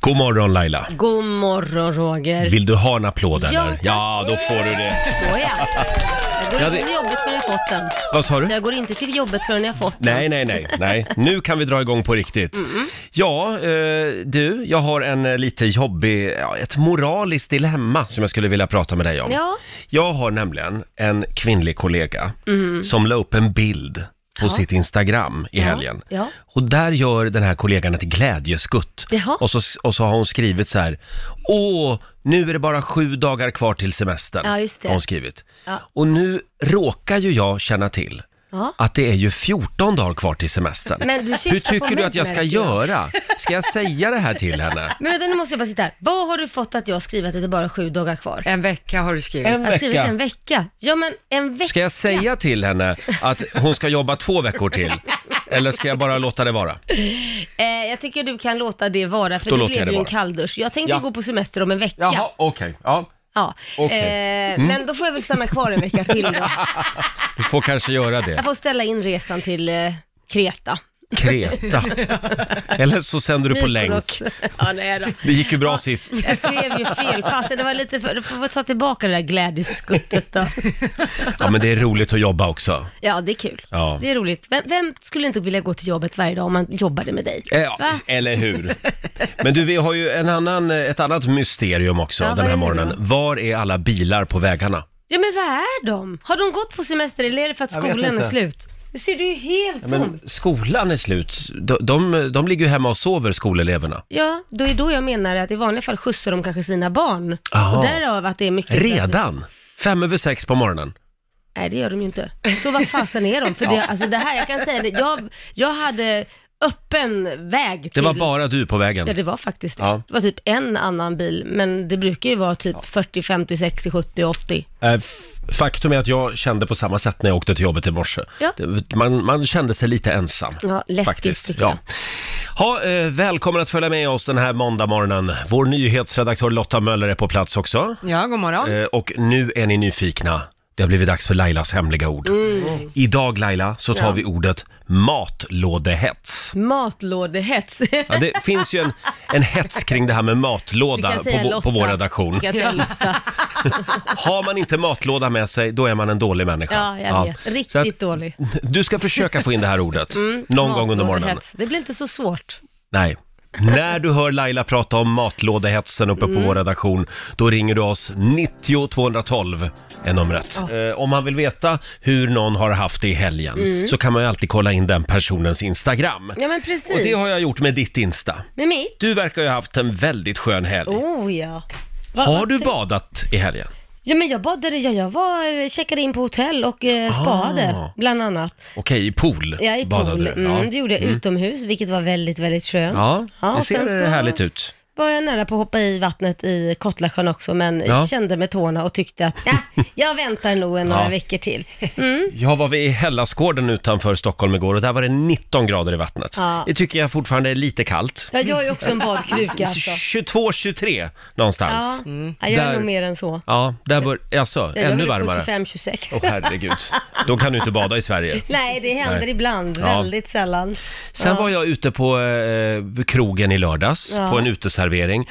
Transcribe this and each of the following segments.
God morgon Laila. God morgon Roger. Vill du ha en applåd Ja, eller? tack. Ja, då får du det. Så ja. Jag går Ja, inte det- till jobbet förrän jag fått den. Vad sa du? Jag går inte till jobbet förrän jag fått den. Nej, nej, nej, nej. Nu kan vi dra igång på riktigt. Mm. Ja, eh, du, jag har en eh, lite jobbig, ja, ett moraliskt dilemma som jag skulle vilja prata med dig om. Ja. Jag har nämligen en kvinnlig kollega som la upp en bild på Ja. sitt Instagram i Mm. Ja, helgen. ja. Och där gör den här kollegan ett glädjeskutt. Jaha. Och så, och så har hon skrivit så här, åh, nu är det bara sju dagar kvar till semestern. Ja, just det. Har hon skrivit. Ja. Och nu råkar ju jag känna till Ja. att det är ju 14 dagar kvar till semestern. Men du Hur syftar på tycker du mig, att jag ska märker jag. göra? Ska jag säga det här till henne? Men vänta, nu måste jag bara sitta här. Vad har du fått att jag skrivit att det är bara sju dagar kvar? En vecka har du skrivit. En Jag har skrivit en vecka. vecka. Ja, men en vecka. Ska jag säga till henne att hon ska jobba två veckor till? Eller ska jag bara låta det vara? Eh, jag tycker du kan låta det vara, för Då det låter jag blev det ju en vara. kalldusch. Jag tänkte Ja. gå på semester om en vecka. okej. Ja. Ja. Okej. Mm. Eh, Men då får jag väl stanna kvar en vecka till då. Du får kanske göra det. Jag får ställa in resan till eh, Kreta. Kreta. Eller så sänder du på länk. Mykonos. Ja, nej då. Det gick ju bra sist. Jag skrev ju fel, fasen det var lite för... Du får väl ta tillbaka det där glädjeskuttet då. Ja, men det är roligt att jobba också. Ja, det är kul. Ja. Det är roligt. Vem, vem skulle inte vilja gå till jobbet varje dag om man jobbade med dig? Eh, Ja, Va? eller hur? Men du, vi har ju en annan, ett annat mysterium också Ja, vad den här är det morgonen. då? Var är alla bilar på vägarna? Ja, men vad är de? Har de gått på semester eller är det för att Jag vet skolan är inte. slut? Nu ser du ju helt tom. Men skolan är slut. De, de, de ligger ju hemma och sover, skoleleverna. Ja, då är då jag menar att i vanliga fall skjutsar de kanske sina barn. Aha. Och därav att det är mycket... Redan? Fem över sex på morgonen. Nej, det gör de ju inte. Så vad fasen är de? För det, alltså det här, jag kan säga det, jag, jag hade öppen väg till... Det var bara du på Ja, vägen. det var faktiskt det. Ja. Det var typ en annan bil, men det brukar ju vara typ 40, 50, 60, 70, 80. Eh, f- Faktum är att jag kände på samma sätt när jag åkte till jobbet i morse. Ja. Det- Man, man kände sig lite ensam. Ja, läskigt tycker jag. Ha, eh, välkommen att följa med oss den här måndagmorgonen. Vår nyhetsredaktör Lotta Möller är på plats också. Ja, god morgon. Eh, och nu är ni nyfikna. Det har blivit dags för Lailas hemliga ord. Mm. Idag Laila så tar Ja. vi ordet matlådehets. Matlådehets. Ja, det finns ju en, en hets kring det här med matlåda på, vå- på vår redaktion. Du kan säga Lotta. Har man inte matlåda med sig, då är man en dålig människa. Ja, jag vet. Så att Riktigt dålig. Mm. Du ska försöka få in det här ordet någon gång under morgonen. Matlådehets. Det blir inte så svårt. Nej. När du hör Laila prata om matlådehetsen uppe Mm. på vår redaktion, då ringer du oss 90 212 är numret. Eh, om man vill veta hur någon har haft det i helgen så kan man ju alltid kolla in den personens Instagram. Mm. Ja, men Och det precis. har jag gjort med ditt Insta. Med mitt? Du verkar ju ha haft en väldigt skön helg. Oh ja. har du badat i helgen? Ja men jag badade, ja, jag var, eh, checkade in på hotell och eh, spaade Ah. bland annat. Okej, i pool Jag är i badade pool, du. Ja. mm, det gjorde jag utomhus vilket var väldigt, väldigt skönt. Ja, det och ser sen så härligt ut. var jag nära på att hoppa i vattnet i Kottlasjön också men Ja. kände med tårna och tyckte att "Nä, jag väntar nog en några Ja. veckor till. Jag var vid- i Hellasgården utanför Stockholm igår och där var det 19 grader i vattnet. Ja. Det tycker jag fortfarande är lite kallt. Jag gör ju också en badkruka alltså. 22-23 någonstans. Ja, ja, jag är Där- nog mer än så. Ja, där bör, alltså, Jag ännu gör väl varmare. Oh. 25-26. Åh herregud, då kan du inte bada i Sverige. Nej, det händer Nej. ibland, Ja. väldigt sällan. Sen var jag ute på eh, krogen i lördags, Ja. på en uteservering.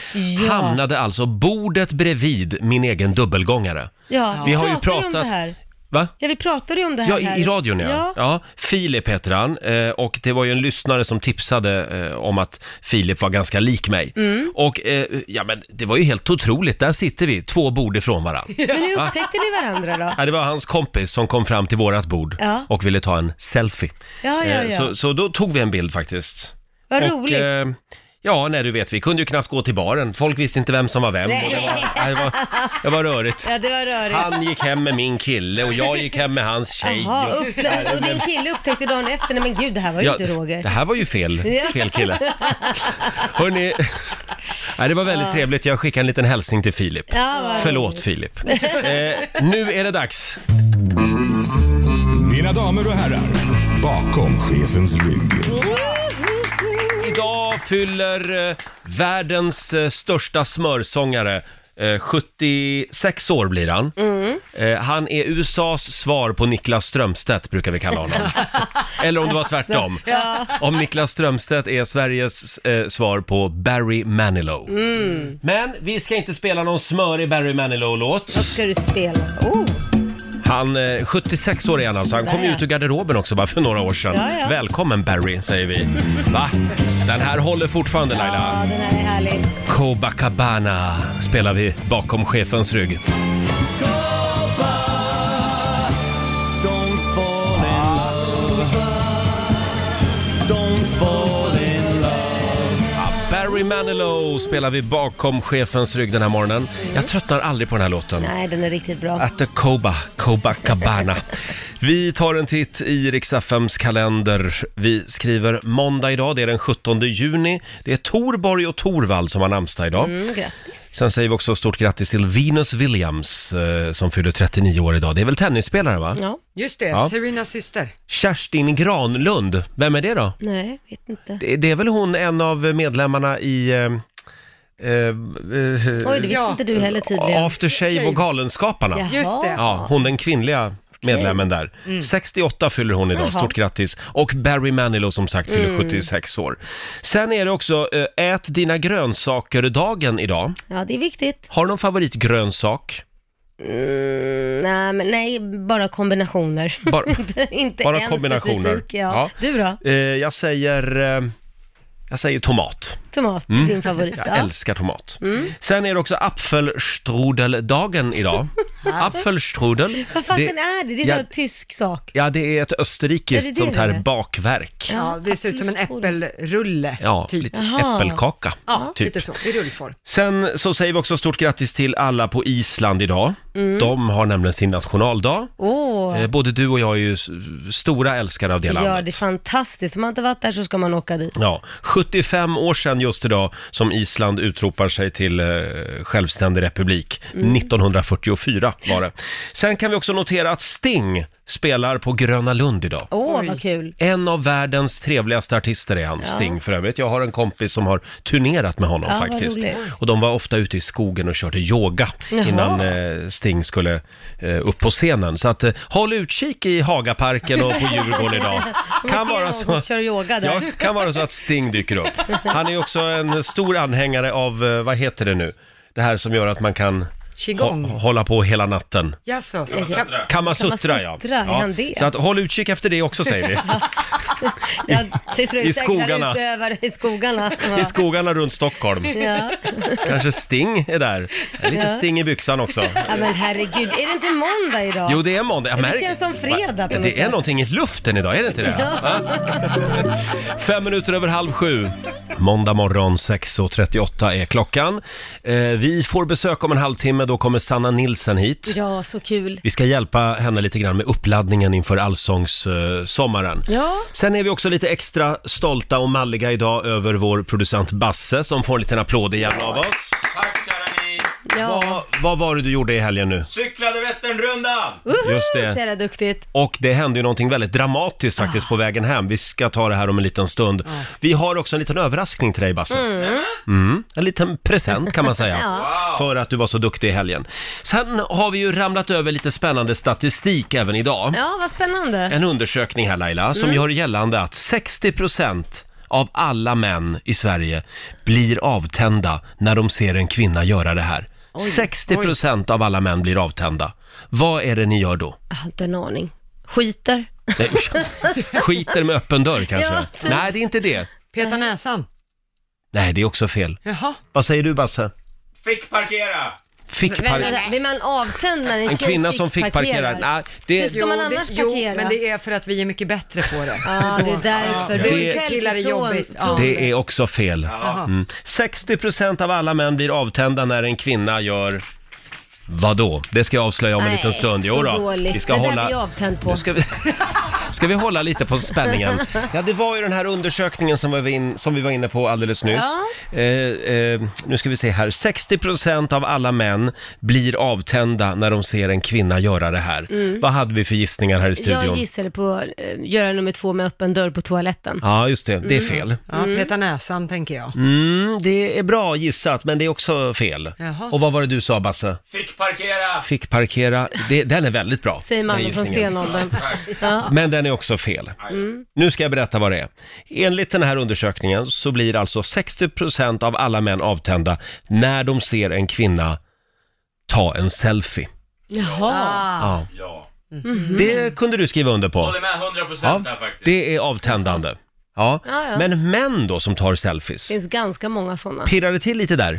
Ja. Hamnade alltså bordet bredvid min egen dubbelgångare. Ja, Vi har ju pratade om pratat- det här. Va? Ja, vi pratade ju om det här. Ja, i, i radion ja. ja. ja. Filip heter han eh, och det var ju en lyssnare som tipsade eh, om att Filip var ganska lik mig. Mm. Och eh, ja, men det var ju helt otroligt. Där sitter vi, två bord ifrån varandra. Men hur upptäckte ni varandra då? Ja, det var hans kompis som kom fram till vårat bord Ja. och ville ta en selfie. Ja, ja, Eh, ja. Så, så då tog vi en bild faktiskt. Vad Och, roligt. eh, ja, nej du vet, vi kunde ju knappt gå till baren. Folk visste inte vem som var vem. Och det, var, nej, det, var, det var rörigt. Ja, det var rörigt. Han gick hem med min kille och jag gick hem med hans tjej. Jaha, och- upp, och din kille upptäckte dagen efter, nej men gud det här var ju inte Roger. Det här var ju fel, fel kille. Hörrni, nej, det var väldigt trevligt. Jag skickar en liten hälsning till Filip. Ja, vad Förlåt Filip. Eh, nu är det dags. Mina damer och herrar, bakom chefens rygg. Idag fyller eh, världens eh, största smörsångare Eh, 76 år blir han. Eh, han är USAs svar på Niklas Strömstedt, brukar vi kalla honom. Eller om det var tvärtom. Om Niklas Strömstedt är Sveriges eh, svar på Barry Manilow. Men vi ska inte spela någon smörig Barry Manilow-låt. Vad ska du spela? Oh, Han, eh, 76 år är han alltså. Han kom ju Där. ut ur garderoben också bara för några år sedan. Ja, ja. Välkommen Barry, säger vi. Va? Den här håller fortfarande ja, Laila. den här är härlig. Copacabana spelar vi bakom chefens rygg. Ja, Barry Manilow spelar vi bakom chefens rygg den här morgonen. Jag tröttnar aldrig på den här låten. Nej, den är riktigt bra. At the Coba, Coba Cabana. Vi tar en titt i Riks-FMs kalender. Vi skriver måndag idag, det är den 17 juni. Det är Torborg och Torvald som har namnsdag idag. Mm, grattis. Sen säger vi också stort grattis till Venus Williams eh, som fyller 39 år idag. Det är väl tennisspelare va? Ja, Just det, Ja. Serenas syster. Kerstin Granlund, vem är det då? nej, vet inte. Det, det är väl hon en av medlemmarna i... Eh, eh, eh, Oj, det visste Ja. inte du heller tydligen. After Shave och Galenskaparna. Jaha. Just det. Ja, hon den kvinnliga medlemmen där. Mm. 68 fyller hon idag, stort grattis. Och Barry Manilow som sagt fyller Mm. 76 år. Sen är det också eh, ät dina grönsaker-dagen idag. Ja, det är viktigt. Har du någon favoritgrönsak? Mm, nej, men nej, bara kombinationer. Bara, inte bara en kombinationer. specifik. Ja. Ja. Du då? eh, jag säger... Eh, jag säger tomat. Tomat, din favorit. Mm. Jag Ja. Mm. älskar tomat. Sen är det också apfelstrudeldagen idag. Apfelstrudel. Vad fasen det- är det? Det är Ja. en tysk sak. Ja, det är ett österrikiskt Är det det sånt här det är? bakverk. Ja, det ser ut som en äppelrulle. Ja, typ. lite Jaha. äppelkaka. ja typ. lite så, i rullform. Sen så säger vi också stort grattis till alla på Island idag. De har nämligen sin nationaldag. Åh, Eh, Både du och jag är ju s- stora älskare av det ja landet. det är fantastiskt. Om man inte varit där så ska man åka dit. Ja, 75 år sedan just idag som Island utropar sig till eh, självständig republik. 1944 var det. Sen kan vi också notera att Sting spelar på Gröna Lund idag. Åh, Oj. vad kul. En av världens trevligaste artister är han, Sting för övrigt. Jag har en kompis som har turnerat med honom Ja, vad faktiskt. roligt. Och de var ofta ute i skogen och körde yoga Jaha. innan eh, Sting skulle eh, upp på scenen. Så att, eh, håll utkik i Hagaparken och på Djurgården idag. Om vi Kan ser vara någon så. som kör yoga där. Ja, kan vara så att Sting dyker upp. Han är ju också en stor anhängare av, eh, vad heter det nu, det här som gör att man kan Qigong. hå- hålla på hela natten. Jaså? Kamasutra, Kamasutra ja. Kamasutra, är ja. han det? Så att, håll utkik efter det också säger vi. Jag sitter i skogarna. Utövar i skogarna. I skogarna runt Stockholm. Ja. Kanske Sting är där. Lite Sting i byxan också. ja, men herregud. Är det inte måndag idag? Jo, det är måndag. Jag Det märker- känns som fredag på något Det är sätt. någonting i luften idag, är det inte det? Va? Fem minuter över halv sju. Måndag morgon 6.38 är klockan. Eh, Vi får besök om en halvtimme, då kommer Sanna Nilsen hit. Ja, så kul. Vi ska hjälpa henne lite grann med uppladdningen inför allsångssommaren. Ja. Sen är vi också lite extra stolta och malliga idag över vår producent Basse som får en liten applåd igen av oss. Tack kära ni! Ja. Vad, vad var det du gjorde i helgen nu? Cyklade Vätternrundan! Just Så det. jävla duktigt. Och det hände ju någonting väldigt dramatiskt faktiskt på vägen hem. Vi ska ta det här om en liten stund. Vi har också en liten överraskning till dig Basse. Mm. En liten present kan man säga. Ja. För att du var så duktig i helgen. Sen har vi ju ramlat över lite spännande statistik även idag. Ja, vad spännande. En undersökning här Laila, Mm. som gör gällande att 60% av alla män i Sverige blir avtända när de ser en kvinna göra det här. 60% av alla män blir avtända. Vad är det ni gör då? Jag har inte en aning. Skiter. Nej, Skiter med öppen dörr kanske? Ja, typ. Nej, det är inte det. Peta Eh. näsan. Nej, det är också fel. Jaha. Vad säger du Basse? Fick parkera! Fick par- Vänta, blir man avtänd när en, en tjej kvinna som fick parkerar? parkera? Ah. Nej, det, Ska man annars det, jo, parkera? men det är för att vi är mycket bättre på det. Ja, det är därför. Ja, Du det- är killar är jobbigt. Ja. det är också fel. Jaha. Mm. 60% av alla män blir avtända när en kvinna gör Vadå? Det ska jag avslöja om en liten stund. Jo då. Vi Vi ska det där blir hålla... jag avtänd på. Nu ska vi... Ska vi hålla lite på spänningen? Ja, det var ju den här undersökningen som, var vi, in, som vi var inne på alldeles nyss. Eh, eh, nu ska vi se här. 60% av alla män blir avtända när de ser en kvinna göra det här. Vad hade vi för gissningar här i Mm. Jag studion? gissade på eh, göra nummer två med öppen dörr på toaletten. Ja, just det. Det är Mm. fel. Ja, peta näsan tänker jag. Mm, det är bra gissat, men det är också fel. Jaha. Och vad var det du sa, Basse? Fick parkera! Fick parkera. Det, den är väldigt bra. Säger mannen den från gissningen. stenåldern. Tack. Ja. Men den är också fel. Nu ska jag berätta vad det är. Enligt den här undersökningen så blir alltså 60% av alla män avtända när de ser en kvinna ta en selfie. Jaha. Ah, Ja. Ja. Det kunde du skriva under på. Håller med 100% procent Ja, där faktiskt. det är avtändande. Ja. Ja, ja. Men män då som tar selfies, Det finns ganska många sådana. pirrar det till lite där?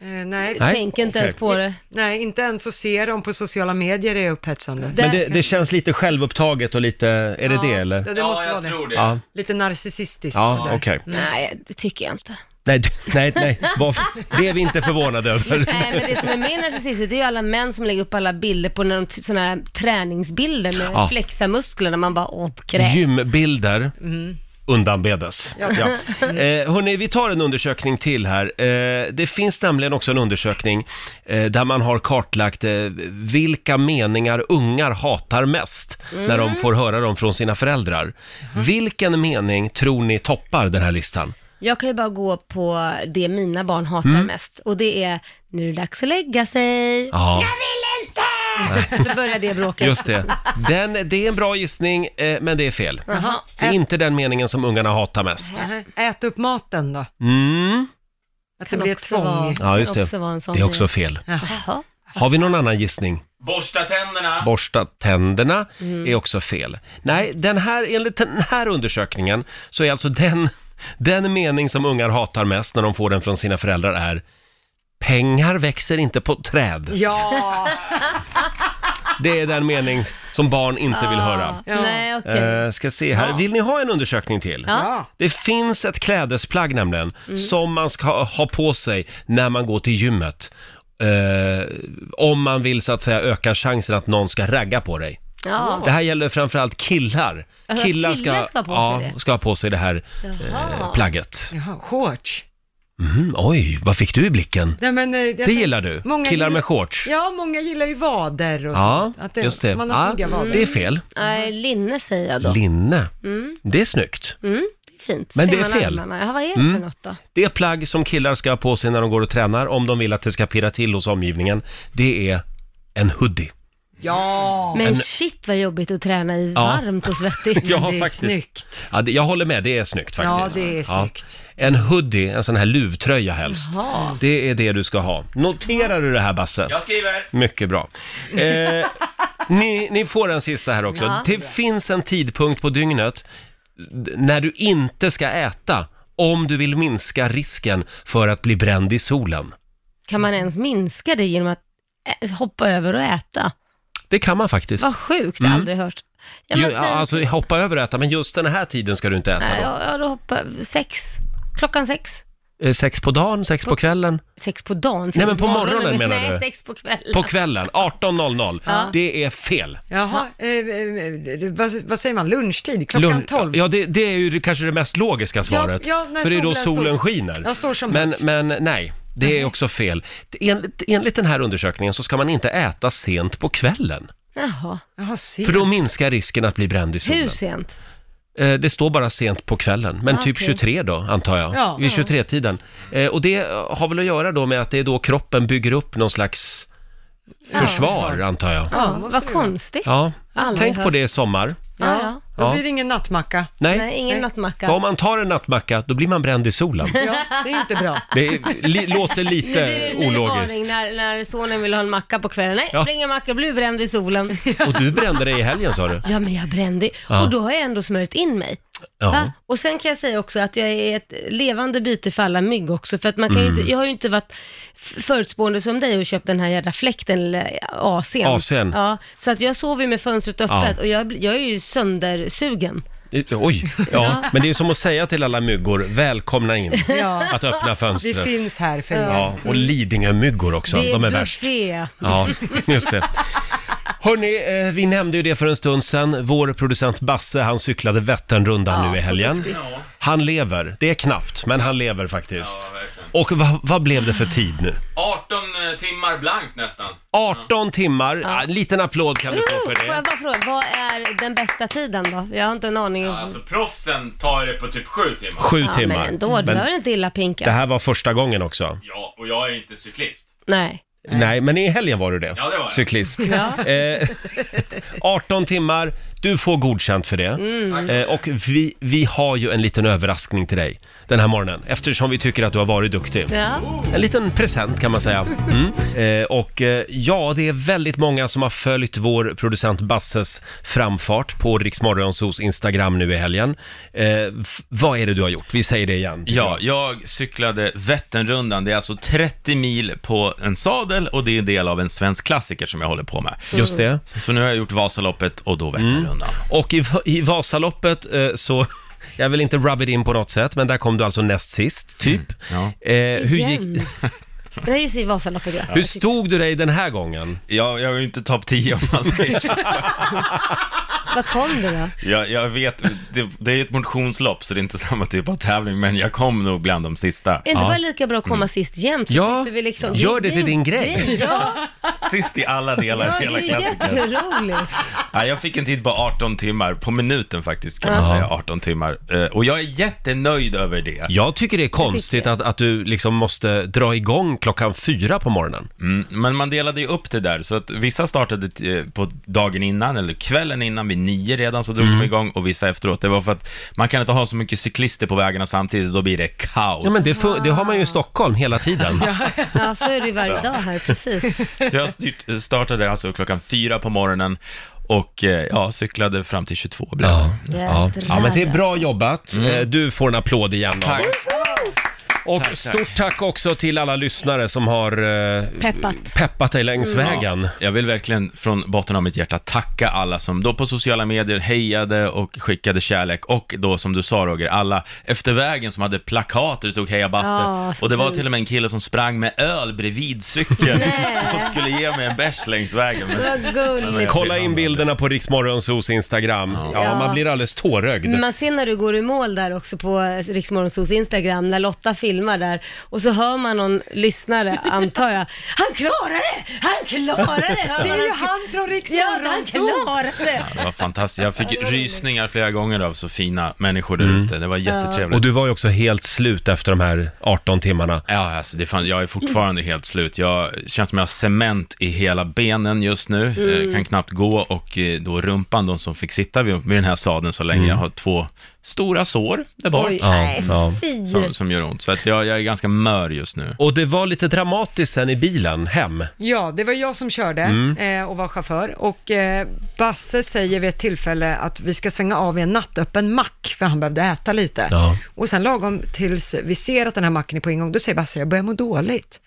eh, nej. Nej, Tänk inte ens okej. på det. nej, inte ens att se dem på sociala medier är upphetsande. Där- Men det, det känns lite självupptaget och lite, är det det eller? Ja, det ja, måste jag vara det. tror det. Ja, Lite narcissistiskt. ja sådär. okej. Mm. Nej, det tycker jag inte. Nej, d- nej, nej, varför? det är vi inte förvånade över. Nej, men det som är mer narcissistiskt det är ju alla män som lägger upp alla bilder på när de t- såna här träningsbilder med Ja. flexa musklerna. Man bara, åh, kräk. Gymbilder undanbedes. Ja. Eh, hörni, vi tar en undersökning till här. Eh, det finns nämligen också en undersökning eh, där man har kartlagt eh, vilka meningar ungar hatar mest när de får höra dem från sina föräldrar. Vilken mening tror ni toppar den här listan? Jag kan ju bara gå på det mina barn hatar mest och det är, nu är det dags att lägga sig. Mm. Ja, Så börjar det bråket. just det. Den, det är en bra gissning, eh, men det är fel. Jaha. Det är inte den meningen som ungarna hatar mest. Ä- ät upp maten då. Mm. Att det Kan blir ett också tvång. vara- Ja, just kan det. också vara en sån Det är också grej. fel. Jaha. Har vi någon annan gissning? Borsta tänderna. borsta tänderna Mm. är också fel. Nej, den här, enligt den här undersökningen så är alltså den, den mening som ungar hatar mest när de får den från sina föräldrar är Pengar växer inte på träd. Ja, Det är den mening som barn inte vill höra. Ja. Nej, okej. Eh, ska se här. Vill ni ha en undersökning till? ja. Det finns ett klädesplagg nämligen Mm. som man ska ha på sig när man går till gymmet. Eh, om man vill så att säga öka chansen att någon ska ragga på dig. ja. Det här gäller framförallt killar. Alltså, killar ska ha på sig ja, det? ska ha på sig det här eh, Jaha. plagget. Jaha, shorts. Mm, oj, vad fick du i blicken? Nej, men, eh, jag Det tänk- gillar du? många Killar gillar- med shorts? Ja, många gillar ju vader och Ja, sånt. Att just det. Man har Ja, snygga vader. det är fel. Nej, Eh, linne säger jag då. Linne. Det är snyggt. Mm, det är fint. Men Ser det är man fel. Mm. Armarna. Ja, vad är det för något då? Det är plagg som killar ska ha på sig när de går och tränar om de vill att det ska pirra till hos omgivningen. Det är en hoodie. Ja, Men shit vad jobbigt att träna i varmt och svettigt. Ja, det är faktiskt. snyggt. Ja, det, jag håller med, det är snyggt faktiskt. Ja, det är Ja. snyggt. En hoodie, en sån här luvtröja helst. Jaha. Det är det du ska ha. Noterar du det här Basse? Jag skriver. Mycket bra. Eh, ni, ni får en sista här också. Ja. det finns en tidpunkt på dygnet d- när du inte ska äta om du vill minska risken för att bli bränd i solen. Kan man ens minska det genom att ä- hoppa över och äta? Det kan man faktiskt. Vad sjukt, aldrig hört. Ja, Ju, men ja, säg- Ah. Mm. alltså hoppa över och äta, men just den här tiden ska du inte äta nej, då. ja, ja, då hoppar sex. Klockan sex. Eh, Sex på dagen, sex på kvällen. Sex på dagen. Nej, men på morgonen menar nej, du? Nej, sex på kvällen. På kvällen, 18.00. Ja. Det är fel. Jaha, eh, eh, eh, vad, vad säger man, lunchtid? Klockan Lugn- 12? Ja, det, det är ju det- kanske det mest logiska svaret. ja, när för det är då solen står- solen skiner. Ja, står som men, högst. men nej, det är också fel. Enligt, enligt den här undersökningen så ska man inte äta sent på kvällen. Jaha. Jaha, se. För då minskar risken att bli bränd i solen. Hur sent? Eh, det står bara sent på kvällen, men typ Ah, Okej. 23 då, antar jag. Ja. Vid 23-tiden. Eh, och det har väl att göra då med att det är då kroppen bygger upp någon slags försvar, antar jag. Ja, Ja, måste vad det vara. konstigt. Ja, Aldrig tänk på hört. det i sommar. Ja, Ja, ja. då Ja. blir det ingen nattmacka. Nej, ingen Nej. För om nattmacka. man tar en nattmacka, då blir man bränd i solen. Ja, det är inte bra. Det är- li, låter Nu lite blir det en ny varning eh, ologiskt. när, när sonen vill ha en macka på kvällen. Nej, Ja. ja. ingen macka, blir bränd i solen. Och du brände dig i helgen sa du? Ja, men jag brände Ja. Och då har jag ändå smörjt in mig. Va? Och sen kan jag säga också att jag är ett levande byte för alla mygg också, för att man kan ju Mm. inte, jag har ju inte varit f- förutspående som dig och köpt den här jävla fläkten, eller AC'n. AC'n. Ja, så att jag sover ju med fönstret öppet och jag, blir- jag är ju söndersugen. Eh, Oj, ja. Men det är som att säga till alla myggor, välkomna in. Ja, Att öppna det fönstret. finns här för er. Ja, och Lidingö-myggor också, det de är värst. buffé. Ja, just det. Hörni, eh, vi nämnde ju det för en stund sedan. Vår producent Basse, han cyklade Vätternrundan Ja, nu i så helgen. duktigt. Han lever. Det är knappt, men han lever faktiskt. Ja, verkligen. Och vad, vad blev det för tid nu? 18 eh, timmar blankt nästan. 18 timmar. Ah, en liten applåd kan du få för Får det. jag bara fråga, vad är den bästa tiden då? Jag har inte en aning. om. Alltså proffsen tar det på typ 7 timmar. Sju ja, timmar. Men ändå, du behöver inte illa pinka. det här var första gången också. Ja, och jag är inte cyklist. Nej. Nej, men i helgen var du det. Ja, det var jag. Cyklist. Ja. Eh, 18 timmar, du får godkänt för det. Eh, och vi, vi har ju en liten överraskning till dig den här morgonen, eftersom vi tycker att du har varit duktig. Ja. En liten present kan man säga. Mm. Eh, och eh, ja, det är väldigt många som har följt vår producent Basses framfart på Riksmorgonsos Instagram nu i helgen. Eh, f- vad är det du har gjort? Vi säger det igen. Ja, jag cyklade Vätternrundan. Det är alltså 30 mil på en sadel och det är en del av en svensk klassiker som jag håller på med. Just det. Så, så nu har jag gjort Vasaloppet och då Vätternrundan. Och i, Va- i Vasaloppet eh, så, jag vill inte rub it in på något sätt, men där kom du alltså näst sist, typ. ja. Eh, hur, Igen. gick, Det är ju så i Vasaloppet. ja. hur stod du dig den här gången? Jag, jag är ju inte topp 10 om man säger så. Vad kom du då? Jag, jag vet, det, det är ju ett motionslopp så det är inte samma typ av tävling, men jag kom nog bland de sista. Är inte bara lika bra att komma sist jämt? så Mm. Ja, slipper vi liksom- gör det till din grej. Ja, Sist i alla ja, delar, det hela är ju klassikern. jätteroligt. Ja, jag fick en tid på 18 timmar, på minuten faktiskt kan man Ja. säga, 18 timmar. Eh, Och jag är jättenöjd över det. Jag tycker det är konstigt att, att du liksom måste dra igång klockan fyra på morgonen. Mm, men man delade ju upp det där, så att vissa startade t- eh, på dagen innan, eller kvällen innan, vid nio redan så drog Mm. de igång, och vissa efteråt. Det var för att man kan inte ha så mycket cyklister på vägarna samtidigt, då blir det kaos. Ja, men det, fu- det har man ju i Stockholm hela tiden. Ja, så är det ju varje dag här, precis. Så jag styrt, eh, startade alltså klockan fyra på morgonen, och eh, ja, cyklade fram till 22 blev det. Ja. Jädrar, ja, men det är bra alltså. jobbat. Eh, Du får en applåd igen av Tack. oss. Och Tack, tack. stort tack också till alla lyssnare som har eh, Peppat. peppat dig längs vägen. Jag vill verkligen från botten av mitt hjärta tacka alla som då på sociala medier hejade och skickade kärlek och då som du sa Roger, alla efter vägen som hade plakater stod Heja Basse Ja, så och det var fint. till och med en kille som sprang med öl bredvid cykeln Nej. och skulle ge mig en bärs längs vägen. Men Vad gulligt. Kolla in bilderna på Riksmorgonsos Instagram. Ja, Ja. man blir alldeles tårögd. Men Man ser när du går i mål där också på Riksmorgonsos Instagram, när Lotta filmar där, och så hör man någon lyssnare, antar jag, han klarar det! Han klarar det! Hör Det man är ju hans- han från Ja, han Riksmorgonzoo! klarar det! det var fantastiskt. Jag fick rysningar flera gånger av så fina människor där ute. Det var Mm. Och jättetrevligt. du var ju också helt slut efter de här 18 timmarna. Ja, alltså det fan, jag är fortfarande helt slut. Jag känns som jag har cement i hela benen just nu. Mm. Eh, kan knappt gå och eh, då rumpan, de som fick sitta vid, vid den här sadeln så länge, jag har två stora sår där bak Oj, Ja, nej, ja. fy! som, som gör ont. Så att jag, jag är ganska mör just nu. Och det var lite dramatiskt sen i bilen hem. Ja, det var jag som körde eh, och var chaufför och eh, Basse säger vid ett tillfälle att vi ska svänga av i en nattöppen mack för han behövde äta lite. Ja. Och sen lagom tills vi ser att den här macken är på ingång, då säger Basse, jag börjar må dåligt.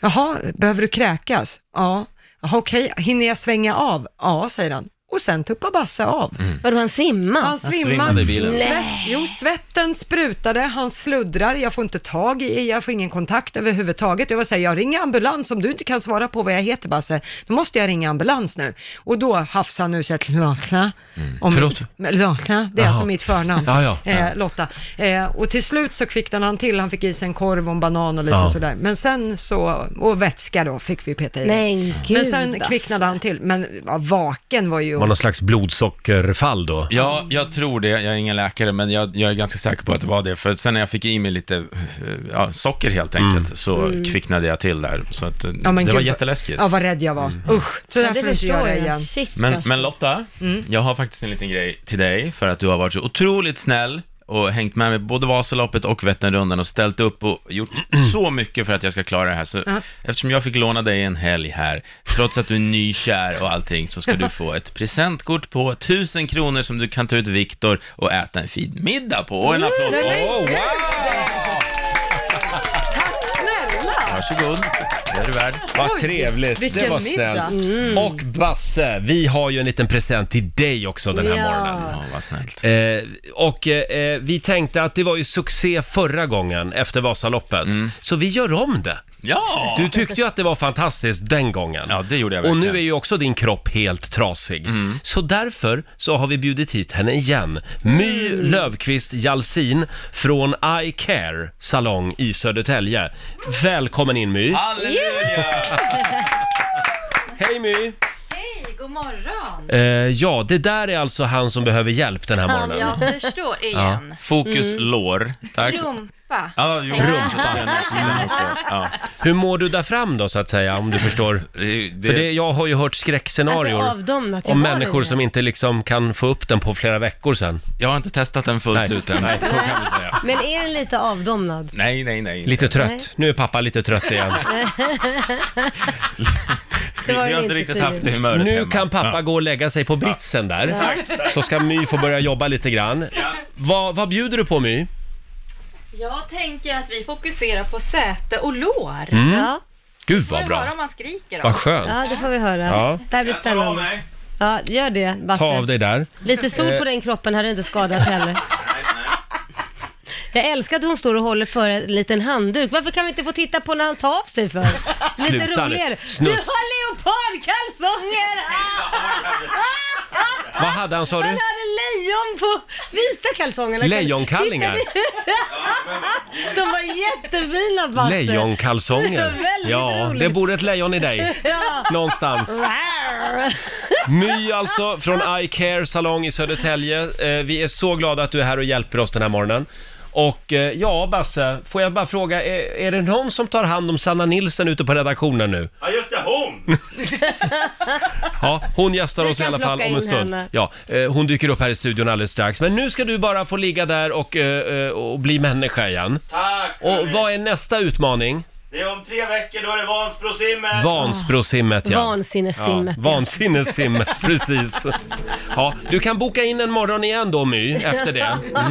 Jaha, behöver du kräkas? Ja. Jaha, okej, hinner jag svänga av? Ja, säger han. Och sen tuppar Basse av. Vadå, han svimmar? Han svimmade i bilen. svimmar. Svett, jo, svetten sprutade, han sluddrar, jag får inte tag i, jag får ingen kontakt överhuvudtaget. Jag var säga, jag ringer ambulans om du inte kan svara på vad jag heter Basse, då måste jag ringa ambulans nu. Och då hafsade han ur sig ett Lotta. om- Mm. Förlåt? Lotta, det är Jaha. alltså mitt förnamn. Ja, ja. Eh, Lotta. Eh, och till slut så kvicknade han till, han fick i sig en korv och en banan och lite Ja. sådär. Men sen så, och vätska då fick vi peta i. Men gud Men sen alltså. kvicknade han till, men ja, vaken var ju... Det var någon slags blodsockerfall då. Ja, jag tror det. Jag är ingen läkare, men jag, jag är ganska säker på att det var det. För sen när jag fick i mig lite eh, ja, socker helt enkelt, så kvicknade jag till där. Så att, eh, Mm. Ja, det men var gud, jätteläskigt. Ja, vad rädd jag var. Mm. Usch, så Ja, där det får du inte förstår göra jag. igen. Shit, Men, alltså. men Lotta, jag har faktiskt en liten grej till dig för att du har varit så otroligt snäll och hängt med mig både Vasaloppet och Vätternrundan och ställt upp och gjort så mycket för att jag ska klara det här. Så, Eftersom jag fick låna dig en helg här, trots att du är nykär och allting, så ska du få ett presentkort på 1000 kronor som du kan ta ut Viktor och äta en fin middag på. Och en applåd! Åh, wow! Snälla! Varsågod! Det är du värd. Vad Oj, trevligt, det vilken var middag. snällt. Och Basse, vi har ju en liten present till dig också den här Ja. morgonen. Ja, vad snällt. Eh, och eh, eh, vi tänkte att det var ju succé förra gången efter Vasaloppet, så vi gör om det. Ja! Du tyckte ju att det var fantastiskt den gången. Ja, det gjorde jag Och nu verkligen. Mm. är ju också din kropp helt trasig. Så därför så har vi bjudit hit henne igen. My Mm. Löfqvist Jalsin från I Care Salong i Södertälje. Välkommen in My! Halleluja! Hej My! Hej, god morgon! Eh, ja, det där är alltså han som behöver hjälp den här morgonen. jag förstår igen. Fokus lår. Tack. Rumpa. Ja, jo, rumpa. Den är tydligen också. Ja. Hur mår du där fram då så att säga, om du förstår? Det, det, För det, det, jag har ju hört skräckscenarior Att det avdomnat, jag om var människor det. som inte liksom kan få upp den på flera veckor sen. jag har inte testat den fullt Nej. ut än. Nej. Så kan vi säga. Men är den lite avdomnad? Nej, nej, nej. Lite trött. Nej. Nu är pappa lite trött igen. vi, var det vi har inte inte riktigt tydligen. haft det humöret Nu hemma. kan pappa gå och lägga sig på britsen där. Så ska My få börja jobba lite grann. Vad, vad bjuder du på My? Jag tänker att vi fokuserar på säte och lår. Ja, Gud Får Mm, vad jag höra bra! om man skriker då? Vad skönt! ja, det får vi höra. Ja. Det här blir Jag tar av spännande. mig. Ja, gör det Basse. Ta av dig Eh. där. Lite sol på den kroppen hade inte skadat heller. Nej, nej. Jag älskar att hon står och håller för en liten handduk. Varför kan vi inte få titta på när han tar av sig för? Lite Sluta nu. roligare. Du Snus. har leopardkalsonger! Ah! Vad hade han sa Han du? hade lejon på... Visa kalsongerna. Lejonkallingar? De var jättefina Basse. Det var Lejonkalsonger? väldigt Ja, roligt. det bor ett lejon i dig. Ja. Någonstans. Arr. My alltså från I Care Salong i Södertälje. Eh, vi är så glada att du är här och hjälper oss den här morgonen. Och eh, ja, Basse, får jag bara fråga, är, är det någon som tar hand om Sanna Nilsen ute på redaktionen nu? Ja, just det, hon! Ja, hon gästar Vi oss i kan alla fall plocka om en in stund. henne. Ja, eh, hon dyker upp här i studion alldeles strax. Men nu ska du bara få ligga där och, eh, eh, och bli människa igen. Tack! Och hörni. vad är nästa utmaning? Det är om tre veckor, då är det Vansbrosimmet! Vansbrosimmet, ja. Vansinnessimmet. Ja, vansinnessimmet, precis. Ja, du kan boka in en morgon igen då My, efter det.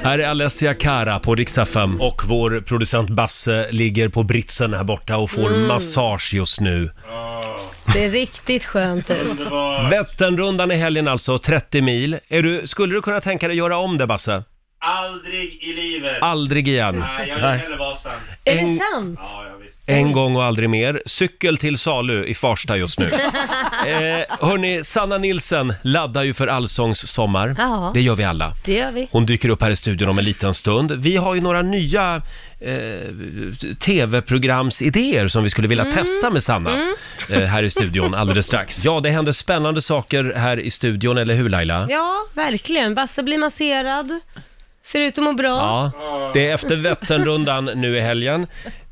Mm. Här är Alessia Cara på Rix FM och vår producent Basse ligger på britsen här borta och får Mm. massage just nu. Det är riktigt skönt ut. Vätternrundan i helgen alltså, 30 mil. Är du, skulle du kunna tänka dig göra om det Basse? Aldrig i livet! Ah, Aldrig igen. Nej, jag vill hellre Vasan. Är det En- sant? Ja, ja, visst. En gång och aldrig mer. Cykel till salu i Farsta just nu. eh, hörni, Sanna Nilsen laddar ju för Allsångs sommar. Ja. Det gör vi alla. Det gör vi. Hon dyker upp här i studion om en liten stund. Vi har ju några nya eh, tv-programsidéer som vi skulle vilja testa med Sanna eh, här i studion alldeles strax. Ja, det händer spännande saker här i studion, eller hur Laila? Ja, verkligen. Basse blir masserad. Ser ut att må bra. Ja, det är efter Vätternrundan nu i helgen.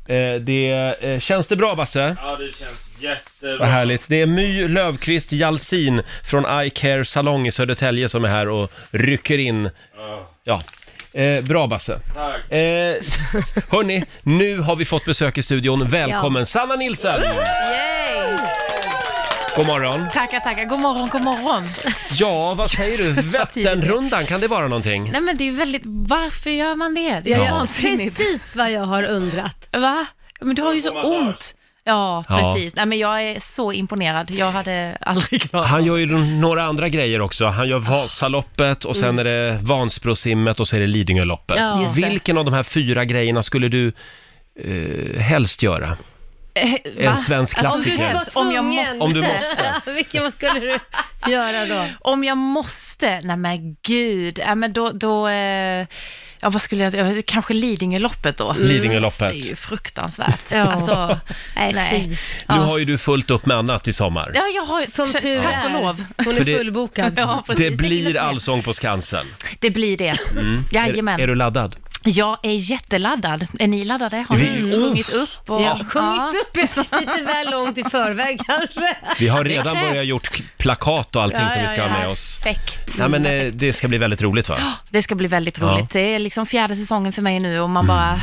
Eh, det, eh, känns det bra Basse? Ja, det känns Vad jättebra. härligt. Det är My Lövqvist Jalsin från I Care Salong i Södertälje som är här och rycker in. Ja, eh, bra Basse. Tack. Eh, hörni, nu har vi fått besök i studion. Välkommen Sanna Nilsson! Yay! God morgon. Tackar, tackar. God morgon, god morgon. Ja, vad säger du? Jesus, vad tidigt. Vätternrundan, kan det vara någonting? Nej men det är ju väldigt, varför gör man det? Det är Jag ju gör vansinnigt. precis vad jag har undrat. Va? Men du har ju så ont. Ja, Ja. precis. Nej men jag är så imponerad. Jag hade aldrig klarat Han gör ju några andra grejer också. Han gör Vasaloppet och sen är det Vansbrosimmet och så är det Lidingöloppet. Ja. Just det. Vilken av de här fyra grejerna skulle du eh, helst göra? det. En svensk Alltså, om du klassiker. var Om jag måste. Om du måste. Vilken skulle du göra då? Om jag måste? Nej men gud. Nej men då, då eh, ja vad skulle jag, ja, kanske Lidingöloppet då. Det är Mm. Lidingöloppet. ju fruktansvärt. Ja. Alltså, Nej, Nej. fy. Nu har ju du fullt upp med annat i sommar. ja jag har Som tur tack är. och lov. Hon är För det- fullbokad. Ja, precis. Det blir hinner med. Allsång på Skansen. Det blir det. Jajamän. Är, är du laddad? Jag är jätteladdad. Är ni laddade? Har Vi- Oh! ni sjungit upp? Och, Jag har sjungit upp lite väl långt i förväg kanske. Vi har redan krävs. börjat gjort k- plakat och allting Ja, som vi ja, ska ha ja. med oss. Perfekt. Nej, men eh, det ska bli väldigt roligt va? Det ska bli väldigt Ja. Mm. roligt. Det är liksom fjärde säsongen för mig nu och man bara...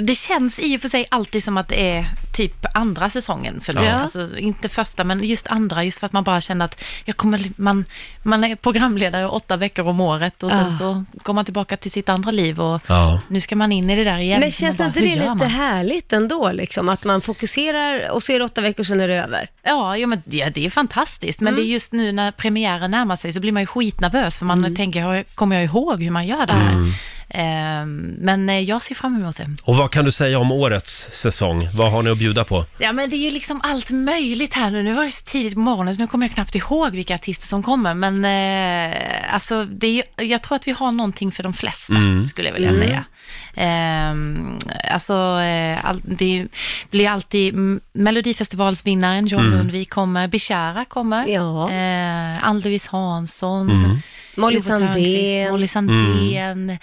Det känns i och för sig alltid som att det är typ andra säsongen för mig. Ja. Alltså, inte första, men just andra, just för att man bara känner att jag kommer, man, man är programledare åtta veckor om året och sen Ja. så går man tillbaka till sitt andra liv och Ja. nu ska man in i det där igen. Men Så känns man inte bara, det hur lite gör man? härligt ändå, liksom, att man fokuserar och så är det åtta veckor sedan är det över? Ja, jo, men det, det är fantastiskt. Men det är just nu när premiären närmar sig så blir man ju skitnervös för man tänker, "Har jag- kommer jag ihåg hur man gör det här? Ehm, men eh, jag ser fram emot det. Och vad kan du säga om årets säsong? Vad har ni att bjuda på? Ja, men det är ju liksom allt möjligt här nu. Nu var det så tidigt på morgonen så nu kommer jag knappt ihåg vilka artister som kommer. Men eh, alltså, det är ju, jag tror att vi har någonting för de flesta, skulle jag vilja säga. Ehm, alltså, eh, all, det är ju- blir alltid mm, Melodifestivalsvinnaren John Lundvik kommer, Bishara kommer, Ja. eh, Ann-Louise Hansson, Molly Robert Törnqvist, Sandén. Molly Sandén,